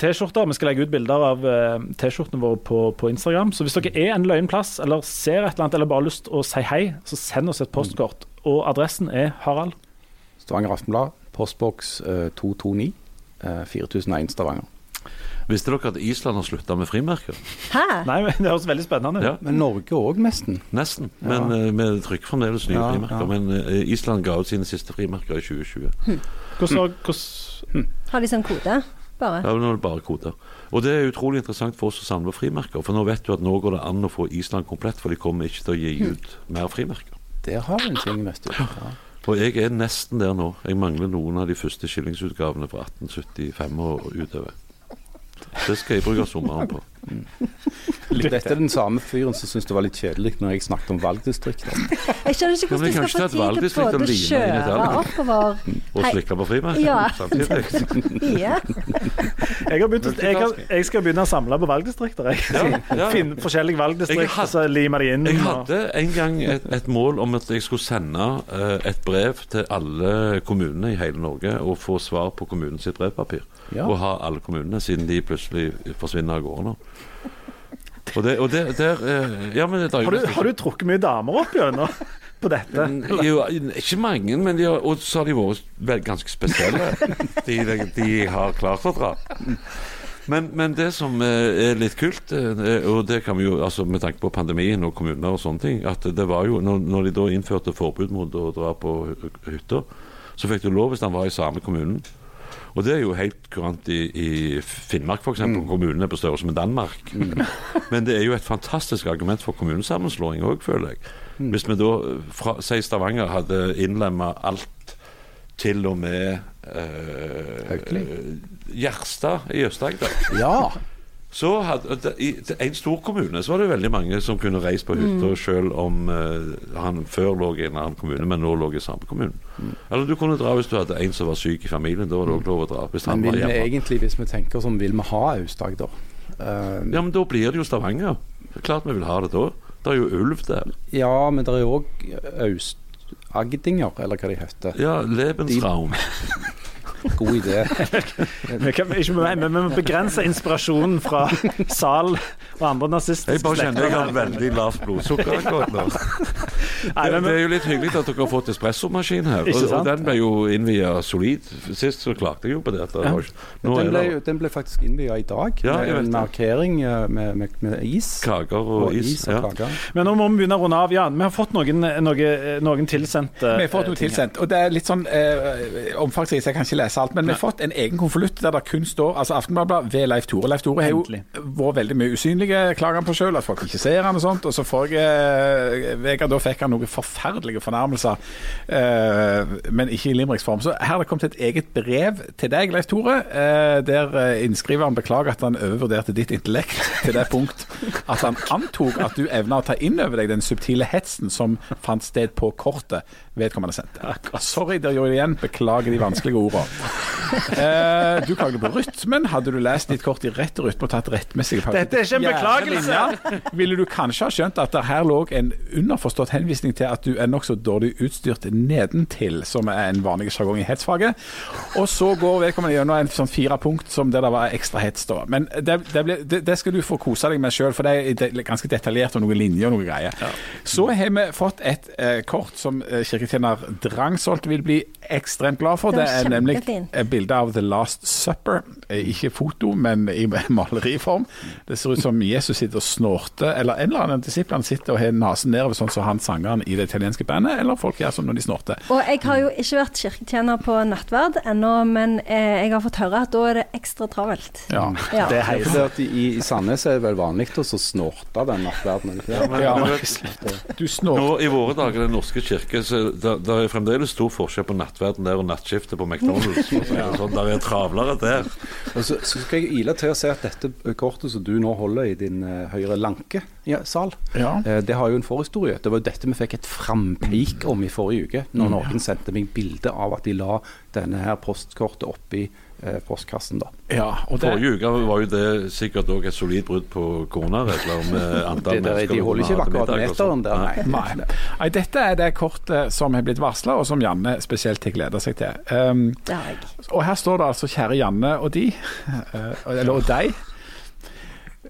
[SPEAKER 2] T-skjorter. Vi skal legge ut bilder av eh, T-skjortene våre på, på Instagram. Så hvis dere er en løyen plass, eller ser et eller annet, eller bare har lyst å si hei, så send oss et postkort. Og adressen er Harald.
[SPEAKER 6] Stavanger Aftenblad, postboks eh, 229, eh, 4001 Stavanger.
[SPEAKER 1] Visste dere at Island har slutta med frimerker?
[SPEAKER 3] Hæ?
[SPEAKER 2] Nei, men det høres veldig spennende ut.
[SPEAKER 1] Ja,
[SPEAKER 6] Men Norge òg, nesten.
[SPEAKER 1] nesten. Men eh, vi trykker fremdeles nye
[SPEAKER 6] Ja,
[SPEAKER 1] frimerker.
[SPEAKER 6] ja.
[SPEAKER 1] Men eh, Island ga ut sine siste frimerker i 2020.
[SPEAKER 2] Hvordan, hvordan
[SPEAKER 3] Har de sånn kode? Bare.
[SPEAKER 1] Ja, nå er det bare koder. Og det er utrolig interessant for oss å samle frimerker. For nå vet du at nå går det an å få Island komplett, for de kommer ikke til å gi ut
[SPEAKER 3] Hm.
[SPEAKER 1] mer frimerker.
[SPEAKER 6] Der har vi en ting neste uke. Ja.
[SPEAKER 1] Og jeg er nesten der nå. Jeg mangler noen av de første skillingsutgavene fra 1875 og og utover. Det skal jeg bruke sommeren på.
[SPEAKER 6] Dette er den samme fyren som syntes det var litt kjedelig når jeg snakket om valgdistrikter.
[SPEAKER 3] Jeg skjønner ikke
[SPEAKER 1] Ja, men kan
[SPEAKER 3] hvordan du
[SPEAKER 1] ikke ta
[SPEAKER 3] skal få
[SPEAKER 1] et
[SPEAKER 3] tid til
[SPEAKER 1] valgdistrikt og
[SPEAKER 3] både å
[SPEAKER 1] lime inn et
[SPEAKER 3] kjøre
[SPEAKER 1] valg.
[SPEAKER 3] oppover
[SPEAKER 1] Og
[SPEAKER 3] Hei.
[SPEAKER 1] slikke på frimerker
[SPEAKER 3] Ja.
[SPEAKER 1] samtidig.
[SPEAKER 3] mye.
[SPEAKER 2] Jeg, har begynt, å- jeg, har, jeg skal begynne å samle på valgdistrikter. Jeg.
[SPEAKER 1] Ja, ja.
[SPEAKER 2] Finne forskjellige
[SPEAKER 1] Jeg
[SPEAKER 2] valgdistrikter,
[SPEAKER 1] had-
[SPEAKER 2] så limer de inn.
[SPEAKER 1] Jeg
[SPEAKER 2] og-
[SPEAKER 1] hadde en gang et, et mål om at jeg skulle sende eh, et brev til alle kommunene i hele Norge og få svar på kommunens sitt brevpapir.
[SPEAKER 6] Ja.
[SPEAKER 1] Og ha alle kommunene, siden de plutselig forsvinner av gårde nå. Og det, og det der eh, Ja, men det er
[SPEAKER 2] Har, du, har du trukket mye damer opp gjennom på dette?
[SPEAKER 4] Mm.
[SPEAKER 1] jo, ikke mange, men de har, og så har de vært vel- ganske spesielle, de, de har klart å dra. Men, men det som eh, er litt kult, eh, og det kan vi jo, altså med tanke på pandemien og kommuner og sånne ting, at det var jo, når, når de da innførte forbud mot å dra på hy- hytter, så fikk du lov hvis han var i samme kommunen. Og det er jo helt kurant i, i Finnmark f.eks. Mm. Kommunen er på størrelse med Danmark. Men det er jo et fantastisk argument for kommunesammenslåing òg, føler jeg. Hvis vi da eh, fra si Stavanger hadde innlemma alt til og med eh, Gjerstad i Øst-Agder.
[SPEAKER 6] Ja!
[SPEAKER 1] Så hadde, det- I til en stor kommune så var det veldig mange som kunne reist på hytta selv om eh, han før lå i en annen kommune, men nå lå i samme kommune. Eller du kunne dra hvis du hadde en som var syk i familien. Da var det òg lov å dra. Hvis han
[SPEAKER 6] Men
[SPEAKER 1] var
[SPEAKER 6] vil vi
[SPEAKER 1] hjemme.
[SPEAKER 6] egentlig, hvis vi tenker sånn, vil vi ha Aust-Agder? Eh,
[SPEAKER 1] Ja, men da blir det jo Stavanger. Det er Klart vi vil ha det da. Det er jo ulv der.
[SPEAKER 6] ja, men det er jo òg Aust-Agdinger, eller hva de heter.
[SPEAKER 1] Ja, Lebensraum.
[SPEAKER 6] God idé.
[SPEAKER 2] Vi kan ikke, men vi må begrense inspirasjonen fra Sal og andre nazister.
[SPEAKER 1] Jeg bare kjenner jeg har veldig lavt blodsukker akkurat nå.
[SPEAKER 2] Nei,
[SPEAKER 1] Det
[SPEAKER 2] men,
[SPEAKER 1] det er jo litt hyggelig at dere har fått espressomaskin her.
[SPEAKER 2] Ikke
[SPEAKER 1] Og, og
[SPEAKER 2] sant?
[SPEAKER 1] den ble jo innvia solid. Sist så klagde jeg jo på det. at det var ikke- Nå
[SPEAKER 6] Den
[SPEAKER 1] er
[SPEAKER 6] ble,
[SPEAKER 1] det
[SPEAKER 6] jo- den ble faktisk innvia i dag,
[SPEAKER 1] Ja, jeg
[SPEAKER 6] med
[SPEAKER 1] vet
[SPEAKER 6] en
[SPEAKER 1] det.
[SPEAKER 6] markering eh, med, med, med is.
[SPEAKER 1] kaker og is.
[SPEAKER 6] og
[SPEAKER 1] Ja.
[SPEAKER 6] kaker.
[SPEAKER 2] men nå må vi begynne å runde av. Jan, vi har fått noen, noen, noen tilsendte
[SPEAKER 4] Vi har fått noe
[SPEAKER 2] ting her.
[SPEAKER 4] tilsendt, og det er litt sånn eh, omfangsrikt, så jeg kan ikke lese alt. Men vi har fått en egen konvolutt der det kun står altså Aftenbladet ved Leif Tore. Leif Tore har jo
[SPEAKER 2] Endelig.
[SPEAKER 4] vært veldig mye usynlig, klager han på sjøl, at folk ikke ser han og sånt. Og så forrige eh, uke, da fikk han noen forferdelige fornærmelser, eh, men ikke i limericksform. Så her har det kommet et eget brev til deg, Leif Tore, eh, der eh, innskriveren beklager at han overvurderte ditt intellekt til det punkt at han antok at du evna å ta inn over deg den subtile hetsen som fant sted på kortet vedkommende sendte. Sorry, der gjorde jeg igjen. Beklager de vanskelige ordene. Eh, du klagde på rytmen. Hadde du lest ditt kort i rett rytme og tatt rettmessige pauser?
[SPEAKER 2] Dette er ikke en beklagelse!
[SPEAKER 4] Ja, Ville du kanskje ha skjønt at det her lå en underforstått henvisning til at du er nokså dårlig utstyrt nedentil, som er en vanlig sjargong i hetsfaget. Og så går vedkommende gjennom en sånn fire punkt som der det var ekstra hets, da. Men det, det, ble, det, det skal du få kose deg med sjøl, for det er det- ganske detaljert og noen linjer og noen greier. Så har vi fått et eh, kort som eh, kirketjener Drangsholt vil bli ekstremt glad for.
[SPEAKER 3] Den
[SPEAKER 4] Det
[SPEAKER 3] var
[SPEAKER 4] er nemlig
[SPEAKER 3] kjempefin.
[SPEAKER 4] et bilde av The Last Supper. Eh, Ikke foto, men i maleriform. Det ser ut som Jesus sitter og snorter, eller en eller annen disiplene sitter og har nesen nedover, sånn som han sangeren i det italienske bandet, eller folk gjør som når de snorter.
[SPEAKER 3] Og jeg har jo ikke vært kirketjener på nattverd ennå, men eh, jeg har fått høre at da er det ekstra travelt.
[SPEAKER 4] Ja.
[SPEAKER 3] Ja.
[SPEAKER 2] Det er
[SPEAKER 6] Ja,
[SPEAKER 2] heis.
[SPEAKER 6] for det at i, I Sandnes er det vel vanlig å så snorte den nattverdenen. ikke det?
[SPEAKER 1] Men,
[SPEAKER 4] Ja.
[SPEAKER 1] du vet,
[SPEAKER 4] Du snorter.
[SPEAKER 1] nå I våre dager i Den norske kirke så der, der er fremdeles stor forskjell på nattverden der og nattskiftet på McDonald's. for å si det Sånn, der er travlere der.
[SPEAKER 6] Og så, så skal jeg ile til å si at dette kortet som du nå holder i din eh, høyre lanke ja, sal,
[SPEAKER 4] Ja.
[SPEAKER 6] eh, det har jo en forhistorie. Det var jo dette vi fikk et frampik om i forrige uke, når noen sendte meg bilde av at de la denne her postkortet oppi eh, postkassen. da.
[SPEAKER 4] ja. Og det,
[SPEAKER 1] Forrige uke var jo det sikkert òg et solid brudd på koronaregler. med eh, antall
[SPEAKER 6] Det der,
[SPEAKER 1] mennesker
[SPEAKER 6] de
[SPEAKER 1] på
[SPEAKER 6] holder ikke
[SPEAKER 1] koronaregler,
[SPEAKER 6] akkurat
[SPEAKER 1] middag og sånn. sånt.
[SPEAKER 6] meteren der, nei.
[SPEAKER 4] Nei. Nei, dette er det kortet som har blitt varsla, og som Janne spesielt har gleda seg til. Um,
[SPEAKER 3] Det har jeg.
[SPEAKER 4] Og her står det altså 'Kjære Janne og de', eh, eller og deg.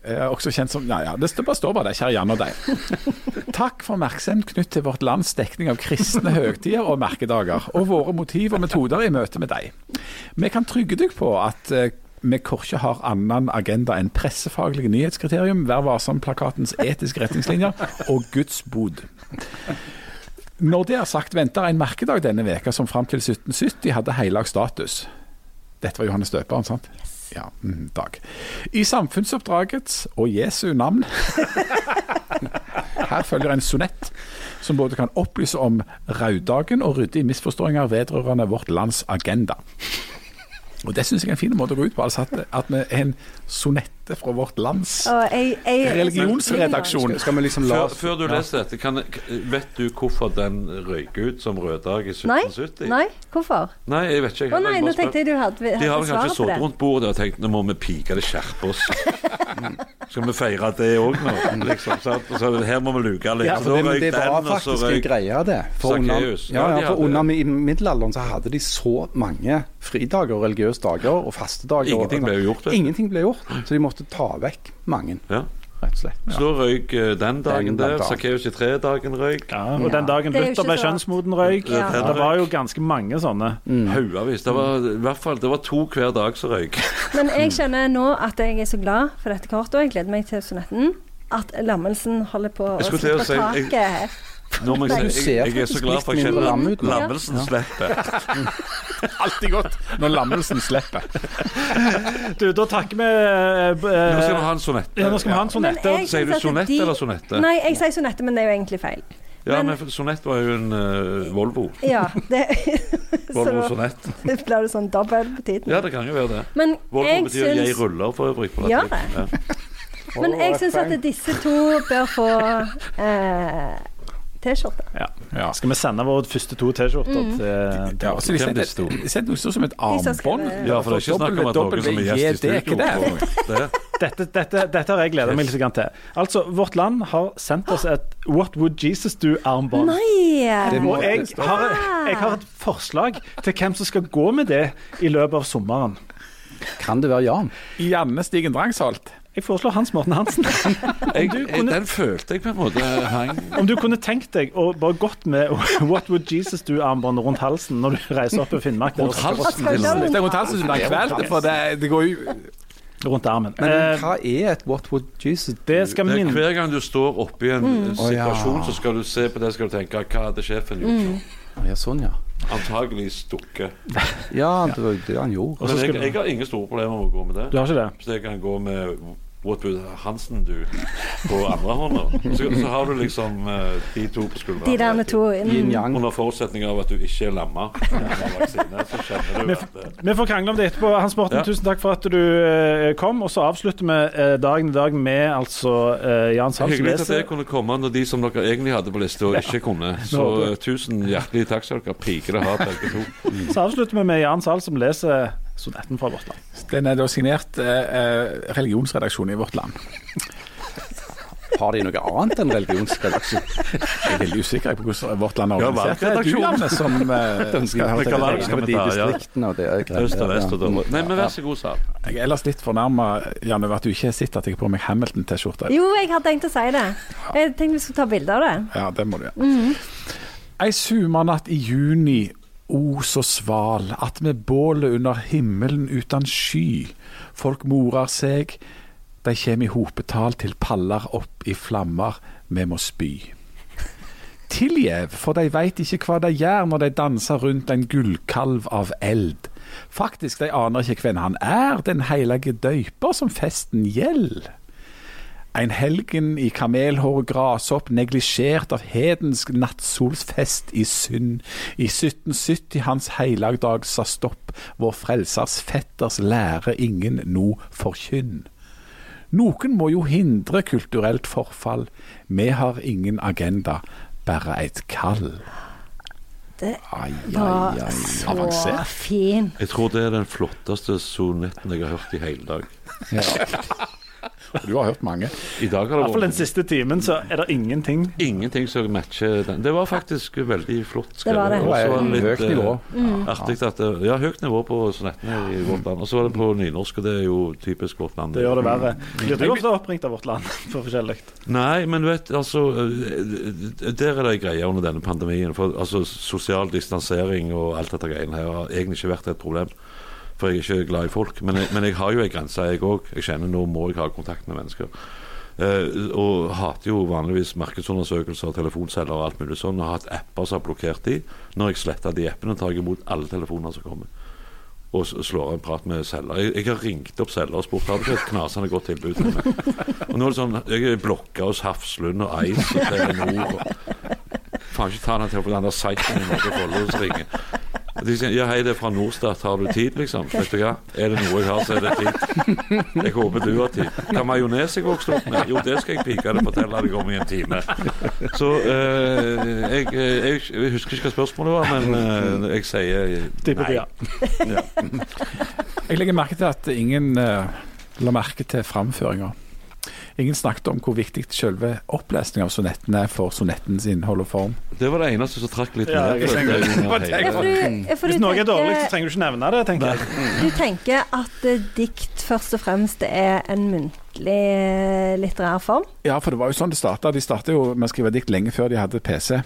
[SPEAKER 4] Eh, også kjent som Ja, ja. Det står bare, står bare det. 'Kjære Janne og deg'. Takk for oppmerksomhet knytt til vårt lands dekning av kristne høgtider og merkedager, og våre motiv og metoder i møte med deg. Vi kan trygge deg på at eh, vi korkje har annen agenda enn pressefaglige nyhetskriterium, Vær varsom-plakatens etiske retningslinjer og Guds bod. Når det er sagt, venter en merkedag denne veka som fram til 1770 hadde heilag status. Dette var Johannes døperen, sant? Ja, mm, dag. I samfunnsoppdragets og Jesu navn Her følger en sonett som både kan opplyse om raudagen og rydde i misforståinger vedrørende vårt lands agenda. Og Det syns jeg er en fin måte å gå ut på, altså at, at vi er en sonette fra vårt lands
[SPEAKER 3] Og jeg, jeg,
[SPEAKER 4] religionsredaksjon.
[SPEAKER 6] Skal vi liksom la
[SPEAKER 1] Før,
[SPEAKER 6] oss
[SPEAKER 1] før du leser dette, kan, vet du hvorfor den røyk ut som røddag i
[SPEAKER 3] Nei,
[SPEAKER 1] 1770?
[SPEAKER 3] nei, hvorfor?
[SPEAKER 1] Nei, jeg vet ikke.
[SPEAKER 3] Å nei, nå tenkte jeg du hadde,
[SPEAKER 1] De har
[SPEAKER 3] hadde
[SPEAKER 1] vel kanskje
[SPEAKER 3] svaret på det.
[SPEAKER 1] sittet rundt bordet og tenkt nå må vi pike det, skjerpe oss. Skal vi feire det òg nå? Liksom, sant? Og så, her må vi luke litt.
[SPEAKER 6] ja,
[SPEAKER 1] Så
[SPEAKER 6] for det,
[SPEAKER 1] da
[SPEAKER 6] men
[SPEAKER 1] røyk
[SPEAKER 6] det var
[SPEAKER 1] den, og så
[SPEAKER 6] faktisk en
[SPEAKER 1] røyk
[SPEAKER 6] greie, det. For under,
[SPEAKER 1] Zacchaeus.
[SPEAKER 6] ja,
[SPEAKER 1] Ja, de
[SPEAKER 6] ja, for
[SPEAKER 1] hadde-
[SPEAKER 6] under mi- i middelalderen så hadde de så mange fridager og religiøse dager og fastedager. og-
[SPEAKER 1] Ingenting ble jo gjort, vet du.
[SPEAKER 6] Ingenting ble gjort, så de måtte ta vekk mange,
[SPEAKER 1] ja.
[SPEAKER 6] rett og slett.
[SPEAKER 1] Så da røyk eh, den
[SPEAKER 6] Den
[SPEAKER 1] dagen der.
[SPEAKER 6] dagen.
[SPEAKER 1] Sakkeus i tre-dagen røyk.
[SPEAKER 2] Ja, og den dagen
[SPEAKER 3] Det er
[SPEAKER 2] Luther
[SPEAKER 3] jo ikke
[SPEAKER 2] ble
[SPEAKER 3] så rart.
[SPEAKER 2] kjønnsmoden røyk.
[SPEAKER 3] Ja.
[SPEAKER 2] Det var jo ganske mange sånne.
[SPEAKER 1] Haugavis. Det var i hvert fall det var to hver dag som røyk.
[SPEAKER 3] Men jeg kjenner nå at jeg er så glad for dette kortet, og jeg gleder meg til sonetten. At Lammelsen holder på å
[SPEAKER 1] Jeg skulle
[SPEAKER 3] slippe
[SPEAKER 1] til å si-
[SPEAKER 3] taket.
[SPEAKER 1] Nå må jeg,
[SPEAKER 6] Du
[SPEAKER 1] si-
[SPEAKER 6] ser
[SPEAKER 1] jeg, jeg er så
[SPEAKER 6] faktisk
[SPEAKER 1] glad for at
[SPEAKER 6] litt
[SPEAKER 1] jeg
[SPEAKER 6] mindre lam
[SPEAKER 1] kjenner
[SPEAKER 6] ut nå.
[SPEAKER 1] lammelsen slipper.
[SPEAKER 4] Alltid godt når lammelsen slipper.
[SPEAKER 2] Du, da takker vi eh, b- eh,
[SPEAKER 1] Nå skal vi ha en sonett.
[SPEAKER 2] ja, Nå skal vi ha en
[SPEAKER 3] Men
[SPEAKER 2] sonette.
[SPEAKER 3] jeg
[SPEAKER 1] Sier du
[SPEAKER 3] synes at
[SPEAKER 1] sonett
[SPEAKER 3] de-
[SPEAKER 1] eller sonette?
[SPEAKER 3] Nei, jeg sier sonette, men det er jo egentlig feil.
[SPEAKER 1] Ja,
[SPEAKER 3] men-
[SPEAKER 1] men for sonett var jo en eh, Volvo.
[SPEAKER 3] Ja, det, så
[SPEAKER 1] Volvo
[SPEAKER 3] da
[SPEAKER 1] sonett.
[SPEAKER 3] blir det sånn dobbel på tiden.
[SPEAKER 1] Ja, det kan jo være det.
[SPEAKER 3] Men
[SPEAKER 1] Volvo
[SPEAKER 3] jeg
[SPEAKER 1] betyr 'jeg
[SPEAKER 3] syns,
[SPEAKER 1] ruller' for øvrig på
[SPEAKER 3] Gjør
[SPEAKER 1] latin.
[SPEAKER 3] det?
[SPEAKER 1] Ja.
[SPEAKER 3] men jeg syns at disse to bør få eh, T-skjorte.
[SPEAKER 4] Ja.
[SPEAKER 2] Skal vi sende våre første to T-skjorter til,
[SPEAKER 4] Ja, altså,
[SPEAKER 2] til
[SPEAKER 4] og så de
[SPEAKER 1] Hvem
[SPEAKER 4] sendte-
[SPEAKER 1] det sto?
[SPEAKER 4] de sendte noe som et
[SPEAKER 3] som
[SPEAKER 4] armbånd.
[SPEAKER 3] skrev-
[SPEAKER 1] Ja, for det er ikke snakk om at noen som er gjest i
[SPEAKER 4] WWJD,
[SPEAKER 1] studio
[SPEAKER 4] ikke det?
[SPEAKER 1] det.
[SPEAKER 2] Dette, dette, dette har jeg gleda meg litt grann til. Altså, Vårt Land har sendt oss et What Would Jesus Do-armbånd.
[SPEAKER 3] Nei!
[SPEAKER 6] Det må
[SPEAKER 2] Og jeg har, jeg har et forslag til hvem som skal gå med det i løpet av sommeren.
[SPEAKER 6] Kan det være Jan?
[SPEAKER 4] Janne Stigen Drangsholt.
[SPEAKER 2] Jeg foreslår Hans Morten Hansen.
[SPEAKER 1] Jeg, jeg, den følte jeg på en måte hang
[SPEAKER 2] Om du kunne tenkt deg å bare gått med What Would Jesus Do-armbånd rundt halsen når du reiser opp i Finnmark. der
[SPEAKER 1] rundt
[SPEAKER 2] også.
[SPEAKER 1] halsen
[SPEAKER 3] Hva
[SPEAKER 1] til
[SPEAKER 3] skal
[SPEAKER 1] noen.
[SPEAKER 4] Det er rundt halsen som blir kveld, for det, det går jo
[SPEAKER 2] rundt armen.
[SPEAKER 6] Men
[SPEAKER 2] Eh,
[SPEAKER 6] hva er et What Would Jesus do?
[SPEAKER 2] det skal
[SPEAKER 1] Det er
[SPEAKER 2] minne
[SPEAKER 1] Hver gang du står oppi en eh, situasjon,
[SPEAKER 6] Å, ja.
[SPEAKER 1] så skal du se på det skal du tenke Hva hadde sjefen gjort?
[SPEAKER 6] Ja, sånn, ja.
[SPEAKER 1] Antagelig stukket.
[SPEAKER 6] Ja, det var jo det han gjorde.
[SPEAKER 2] Og så
[SPEAKER 1] Men jeg,
[SPEAKER 2] skulle-
[SPEAKER 1] jeg har ingen store problemer med å gå med
[SPEAKER 2] Du
[SPEAKER 1] det.
[SPEAKER 2] har ikke det?
[SPEAKER 1] Så jeg kan gå med What would Hansen do på andre hånda? Og Så, så har du liksom eh, de to på skuldrene.
[SPEAKER 3] De der to
[SPEAKER 5] Yin
[SPEAKER 3] mm.
[SPEAKER 5] yang.
[SPEAKER 1] Under forutsetning av at du ikke er lamma av vaksine, så kjenner du at eh,
[SPEAKER 2] Vi får krangle om det etterpå. Hans Morten,
[SPEAKER 1] Ja.
[SPEAKER 2] tusen takk for at du eh, kom. Og så avslutter vi eh, dagen i dag med altså eh, Jan Sals
[SPEAKER 1] Hyggelig at jeg
[SPEAKER 2] leser.
[SPEAKER 1] kunne komme når de som dere egentlig hadde på lista, ikke kunne. Så eh, tusen hjertelig takk skal dere pikere ha, begge to.
[SPEAKER 2] Så avslutter vi med Jan Sals som leser sonetten fra vårt land.
[SPEAKER 4] Den er da signert eh, eh, religionsredaksjonen i Vårt Land.
[SPEAKER 6] Har de noe annet enn religionsredaksjon?
[SPEAKER 4] Jeg er veldig usikker på hvordan Vårt Land er
[SPEAKER 1] Ja,
[SPEAKER 4] organisert. Det er du,
[SPEAKER 1] valgredaksjon.
[SPEAKER 4] Janne, som eh, skal ha
[SPEAKER 1] Det kan
[SPEAKER 4] det.
[SPEAKER 1] være.
[SPEAKER 6] Jeg regner med de distriktene og det er greit.
[SPEAKER 1] Øst og vest og dømmer. Nei, men vær så god, Sal.
[SPEAKER 4] Jeg er ellers litt fornærma, Janne, over at du ikke har sett at jeg har på meg Hamilton-T-skjorte.
[SPEAKER 3] Jo, jeg har tenkt å si det. Jeg tenkte vi skulle ta bilde av det.
[SPEAKER 4] Ja, det må du gjøre. Ei sumarnatt i juni, o så sval, at med bålet under himmelen utan sky, folk morer seg, de kjem i hopetall til pallar opp i flammer, me må spy. Tilgjev, for de veit ikke hva de gjør når de danser rundt en gullkalv av eld. Faktisk, de aner ikke hvem han er, den heilage døyper som festen gjeld. En helgen i kamelhår og grashopp, neglisjert av hedensk nattsolsfest i synd. I 1770 hans heilagdag sa stopp, vår frelsers fetters lære ingen no forkynn. Noen må jo hindre kulturelt forfall, vi har ingen agenda, bare et kall.
[SPEAKER 3] Det
[SPEAKER 4] Ai,
[SPEAKER 3] var
[SPEAKER 4] ai, ai.
[SPEAKER 3] så
[SPEAKER 4] Avansert.
[SPEAKER 3] fin.
[SPEAKER 1] Jeg tror det er den flotteste sonetten jeg har hørt i hele dag.
[SPEAKER 4] Du har hørt mange.
[SPEAKER 1] I dag har det
[SPEAKER 2] Iallfall den
[SPEAKER 1] vært
[SPEAKER 2] siste timen så er det ingenting.
[SPEAKER 1] ingenting som matcher den. Det var faktisk veldig flott
[SPEAKER 3] Det var
[SPEAKER 1] skrevet.
[SPEAKER 3] det.
[SPEAKER 1] Og så var
[SPEAKER 6] Det var
[SPEAKER 1] litt,
[SPEAKER 6] høyt nivå.
[SPEAKER 1] eh, Artig at det, ja, høyt nivå på sonettene i vårt land. Og så var det på nynorsk, og det er jo typisk vårt land.
[SPEAKER 2] Det gjør det verre.
[SPEAKER 1] Mm.
[SPEAKER 2] Blir du ofte oppringt av Vårt Land for forskjellig?
[SPEAKER 1] Nei, men vet altså eh, Der er det en greie under denne pandemien. For altså, sosial distansering og alt dette greiene her har egentlig ikke vært et problem. For jeg er ikke glad i folk. Men jeg, men jeg har jo ei grense, jeg òg. Jeg kjenner nå må jeg ha kontakt med mennesker. Eh, og hater jo vanligvis markedsundersøkelser, telefonceller og alt mulig sånn. Og har hatt apper som har blokkert de. Når jeg sletter de appene, tar jeg imot alle telefoner som kommer. Og s- slår en prat med selger. Jeg, jeg har ringt opp selger og spurt har du ikke et knasende godt tilbud til meg. Og nå er det sånn, jeg er blokka hos Hafslund og Eis og Telenor og Faen ikke ta den telefonen, den der seiten i Norge Follos ringer. Og De sier ja, hei, det er fra Norstat, har du tid, liksom? Vet du hva, er det noe jeg har, så er det tid. Jeg håper du har tid. Hva majones jeg vokste opp med? Jo, det skal jeg pike deg fortelle deg om i en time. Så eh, jeg, jeg, jeg husker ikke hva spørsmålet var, men eh, jeg sier
[SPEAKER 2] Tipper
[SPEAKER 1] nei.
[SPEAKER 2] de, ja.
[SPEAKER 4] Jeg legger merke til at ingen eh, la merke til framføringa. Ingen snakket om hvor viktig selve opplesningen av sonettene er for sonettens innhold og form.
[SPEAKER 1] Det var det eneste som trakk litt
[SPEAKER 2] Ja,
[SPEAKER 1] ned.
[SPEAKER 2] jeg
[SPEAKER 1] på
[SPEAKER 2] tenker-
[SPEAKER 1] dette under
[SPEAKER 2] jeg
[SPEAKER 1] hele-
[SPEAKER 3] Ja, for du, ja, for du
[SPEAKER 2] Hvis noe er dårlig, så
[SPEAKER 3] tenker-
[SPEAKER 2] trenger du ikke nevne det, tenker jeg.
[SPEAKER 3] Du tenker at eh, dikt først og fremst er en muntlig eh, litterær form?
[SPEAKER 4] Ja, for det var jo sånn det starta. De starta jo med å skrive dikt lenge før de hadde PC.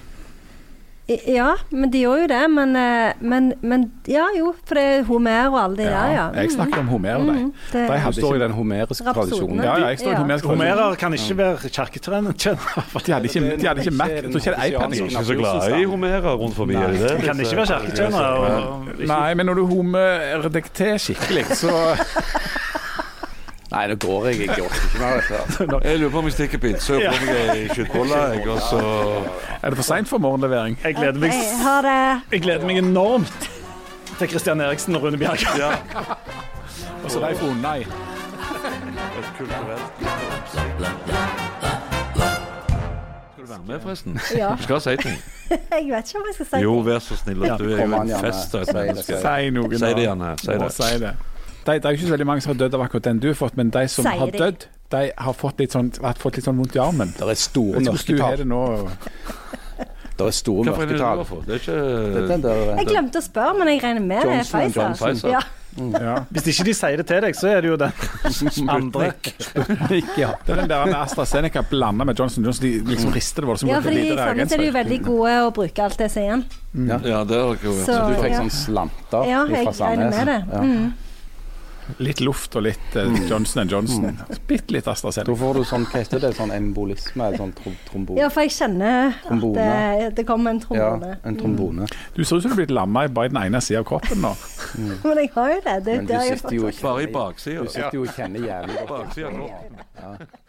[SPEAKER 3] I- Ja, men de gjorde jo det. Men, eh, men, men ja, jo, for det er Homer og alle de der, ja.
[SPEAKER 4] Jeg snakker om Homer og deg.
[SPEAKER 3] Mm, det-
[SPEAKER 4] De
[SPEAKER 6] Du
[SPEAKER 4] hadde
[SPEAKER 6] står i
[SPEAKER 4] ikke,
[SPEAKER 6] den homeriske
[SPEAKER 3] Rapsodene.
[SPEAKER 6] tradisjonen.
[SPEAKER 4] ja, ja, jeg står i
[SPEAKER 3] Mm. Ja.
[SPEAKER 4] homerisk tradisjon.
[SPEAKER 2] Homerer kan ikke være kjerketrener.
[SPEAKER 4] De hadde ikke, de hadde ikke Mac. Jeg tror ikke det er iPad.
[SPEAKER 1] De er ikke så glade i Homera rundt forbi, er de det? eh,
[SPEAKER 2] Kan ikke være kjerketrener. og- og-
[SPEAKER 4] Nei, men når du homer deg til skikkelig, så
[SPEAKER 6] Nei, nå går jeg ikke. Jeg orker ikke mer dette.
[SPEAKER 1] Jeg lurer på om jeg stikker pizza og på meg ei kjøttbolle, jeg, og så
[SPEAKER 4] er det for seint for morgenlevering.
[SPEAKER 2] Jeg gleder meg,
[SPEAKER 3] Hei, ha det.
[SPEAKER 2] jeg gleder meg enormt til Christian Eriksen og Rune Bjerke.
[SPEAKER 4] Og så Leif Onei.
[SPEAKER 1] Skal du være med, forresten?
[SPEAKER 3] Ja.
[SPEAKER 1] Du skal si ting.
[SPEAKER 3] Jeg vet ikke om jeg skal si
[SPEAKER 1] Jo, vær så snill at du er
[SPEAKER 6] Kom
[SPEAKER 1] jo
[SPEAKER 6] an,
[SPEAKER 1] en
[SPEAKER 6] Janne.
[SPEAKER 1] fest av et
[SPEAKER 6] Si det,
[SPEAKER 1] menneske.
[SPEAKER 4] Si noe,
[SPEAKER 1] Si det, Janne. Si
[SPEAKER 4] Må
[SPEAKER 1] det.
[SPEAKER 4] si det. Det, det er jo ikke så veldig mange som har dødd av akkurat den du har fått, men de som
[SPEAKER 3] Sier
[SPEAKER 4] har
[SPEAKER 3] de.
[SPEAKER 4] dødd, de har fått litt sånn, har fått litt sånn vondt i armen.
[SPEAKER 6] Det er store
[SPEAKER 4] Jeg tror du har
[SPEAKER 6] mørketall.
[SPEAKER 4] det nå.
[SPEAKER 6] Det er store
[SPEAKER 1] Hva for en er det du har
[SPEAKER 6] mørketall.
[SPEAKER 1] fått? Det er
[SPEAKER 6] Det er
[SPEAKER 1] ikke
[SPEAKER 6] den der, eh,
[SPEAKER 3] Jeg glemte å spørre, men jeg regner med det er
[SPEAKER 6] Johnson
[SPEAKER 3] Pfizer.
[SPEAKER 6] Johnson.
[SPEAKER 1] Pfizer.
[SPEAKER 3] Ja.
[SPEAKER 4] Ja.
[SPEAKER 2] Hvis ikke de sier det til deg, så er det jo den andre.
[SPEAKER 6] ja.
[SPEAKER 4] Det er den der med AstraZeneca blanda med Johnson Johnson. De liksom rister det voldsomt.
[SPEAKER 3] ja,
[SPEAKER 4] godt,
[SPEAKER 3] for
[SPEAKER 4] det
[SPEAKER 3] i
[SPEAKER 4] lite
[SPEAKER 3] sånne så er de jo
[SPEAKER 4] reagensrør.
[SPEAKER 3] veldig gode å bruke alt det som er igjen.
[SPEAKER 1] Ja, det har dere jo.
[SPEAKER 3] Så,
[SPEAKER 6] Du fikk
[SPEAKER 3] ja.
[SPEAKER 6] sånn slanter
[SPEAKER 3] ja, jeg
[SPEAKER 6] fra
[SPEAKER 3] regner med det.
[SPEAKER 6] Sandnes. Ja.
[SPEAKER 3] Mm.
[SPEAKER 4] Litt luft og litt eh, Johnson Johnson. Bitte litt
[SPEAKER 6] Da
[SPEAKER 4] AstraZeneca.
[SPEAKER 6] får du sånn, hva heter det, sånn embolisme, sånn trom trombone.
[SPEAKER 3] Ja, for jeg kjenner at eh,
[SPEAKER 6] Trombone.
[SPEAKER 3] det, det kommer en
[SPEAKER 6] Ja,
[SPEAKER 3] trombone.
[SPEAKER 6] en trombone.
[SPEAKER 4] Du ser ut som du er blitt lamma i bare den ene sida av kroppen nå.
[SPEAKER 3] Men jeg har jo det. det,
[SPEAKER 6] Mm.
[SPEAKER 3] det
[SPEAKER 6] Men du
[SPEAKER 3] har jeg
[SPEAKER 6] sitter jo
[SPEAKER 3] fått.
[SPEAKER 6] og
[SPEAKER 1] Bare i
[SPEAKER 6] kjenner,
[SPEAKER 1] baksida.
[SPEAKER 6] du sitter jo og kjenner jævlig godt.
[SPEAKER 1] Baksida av kroppen.
[SPEAKER 6] Ja.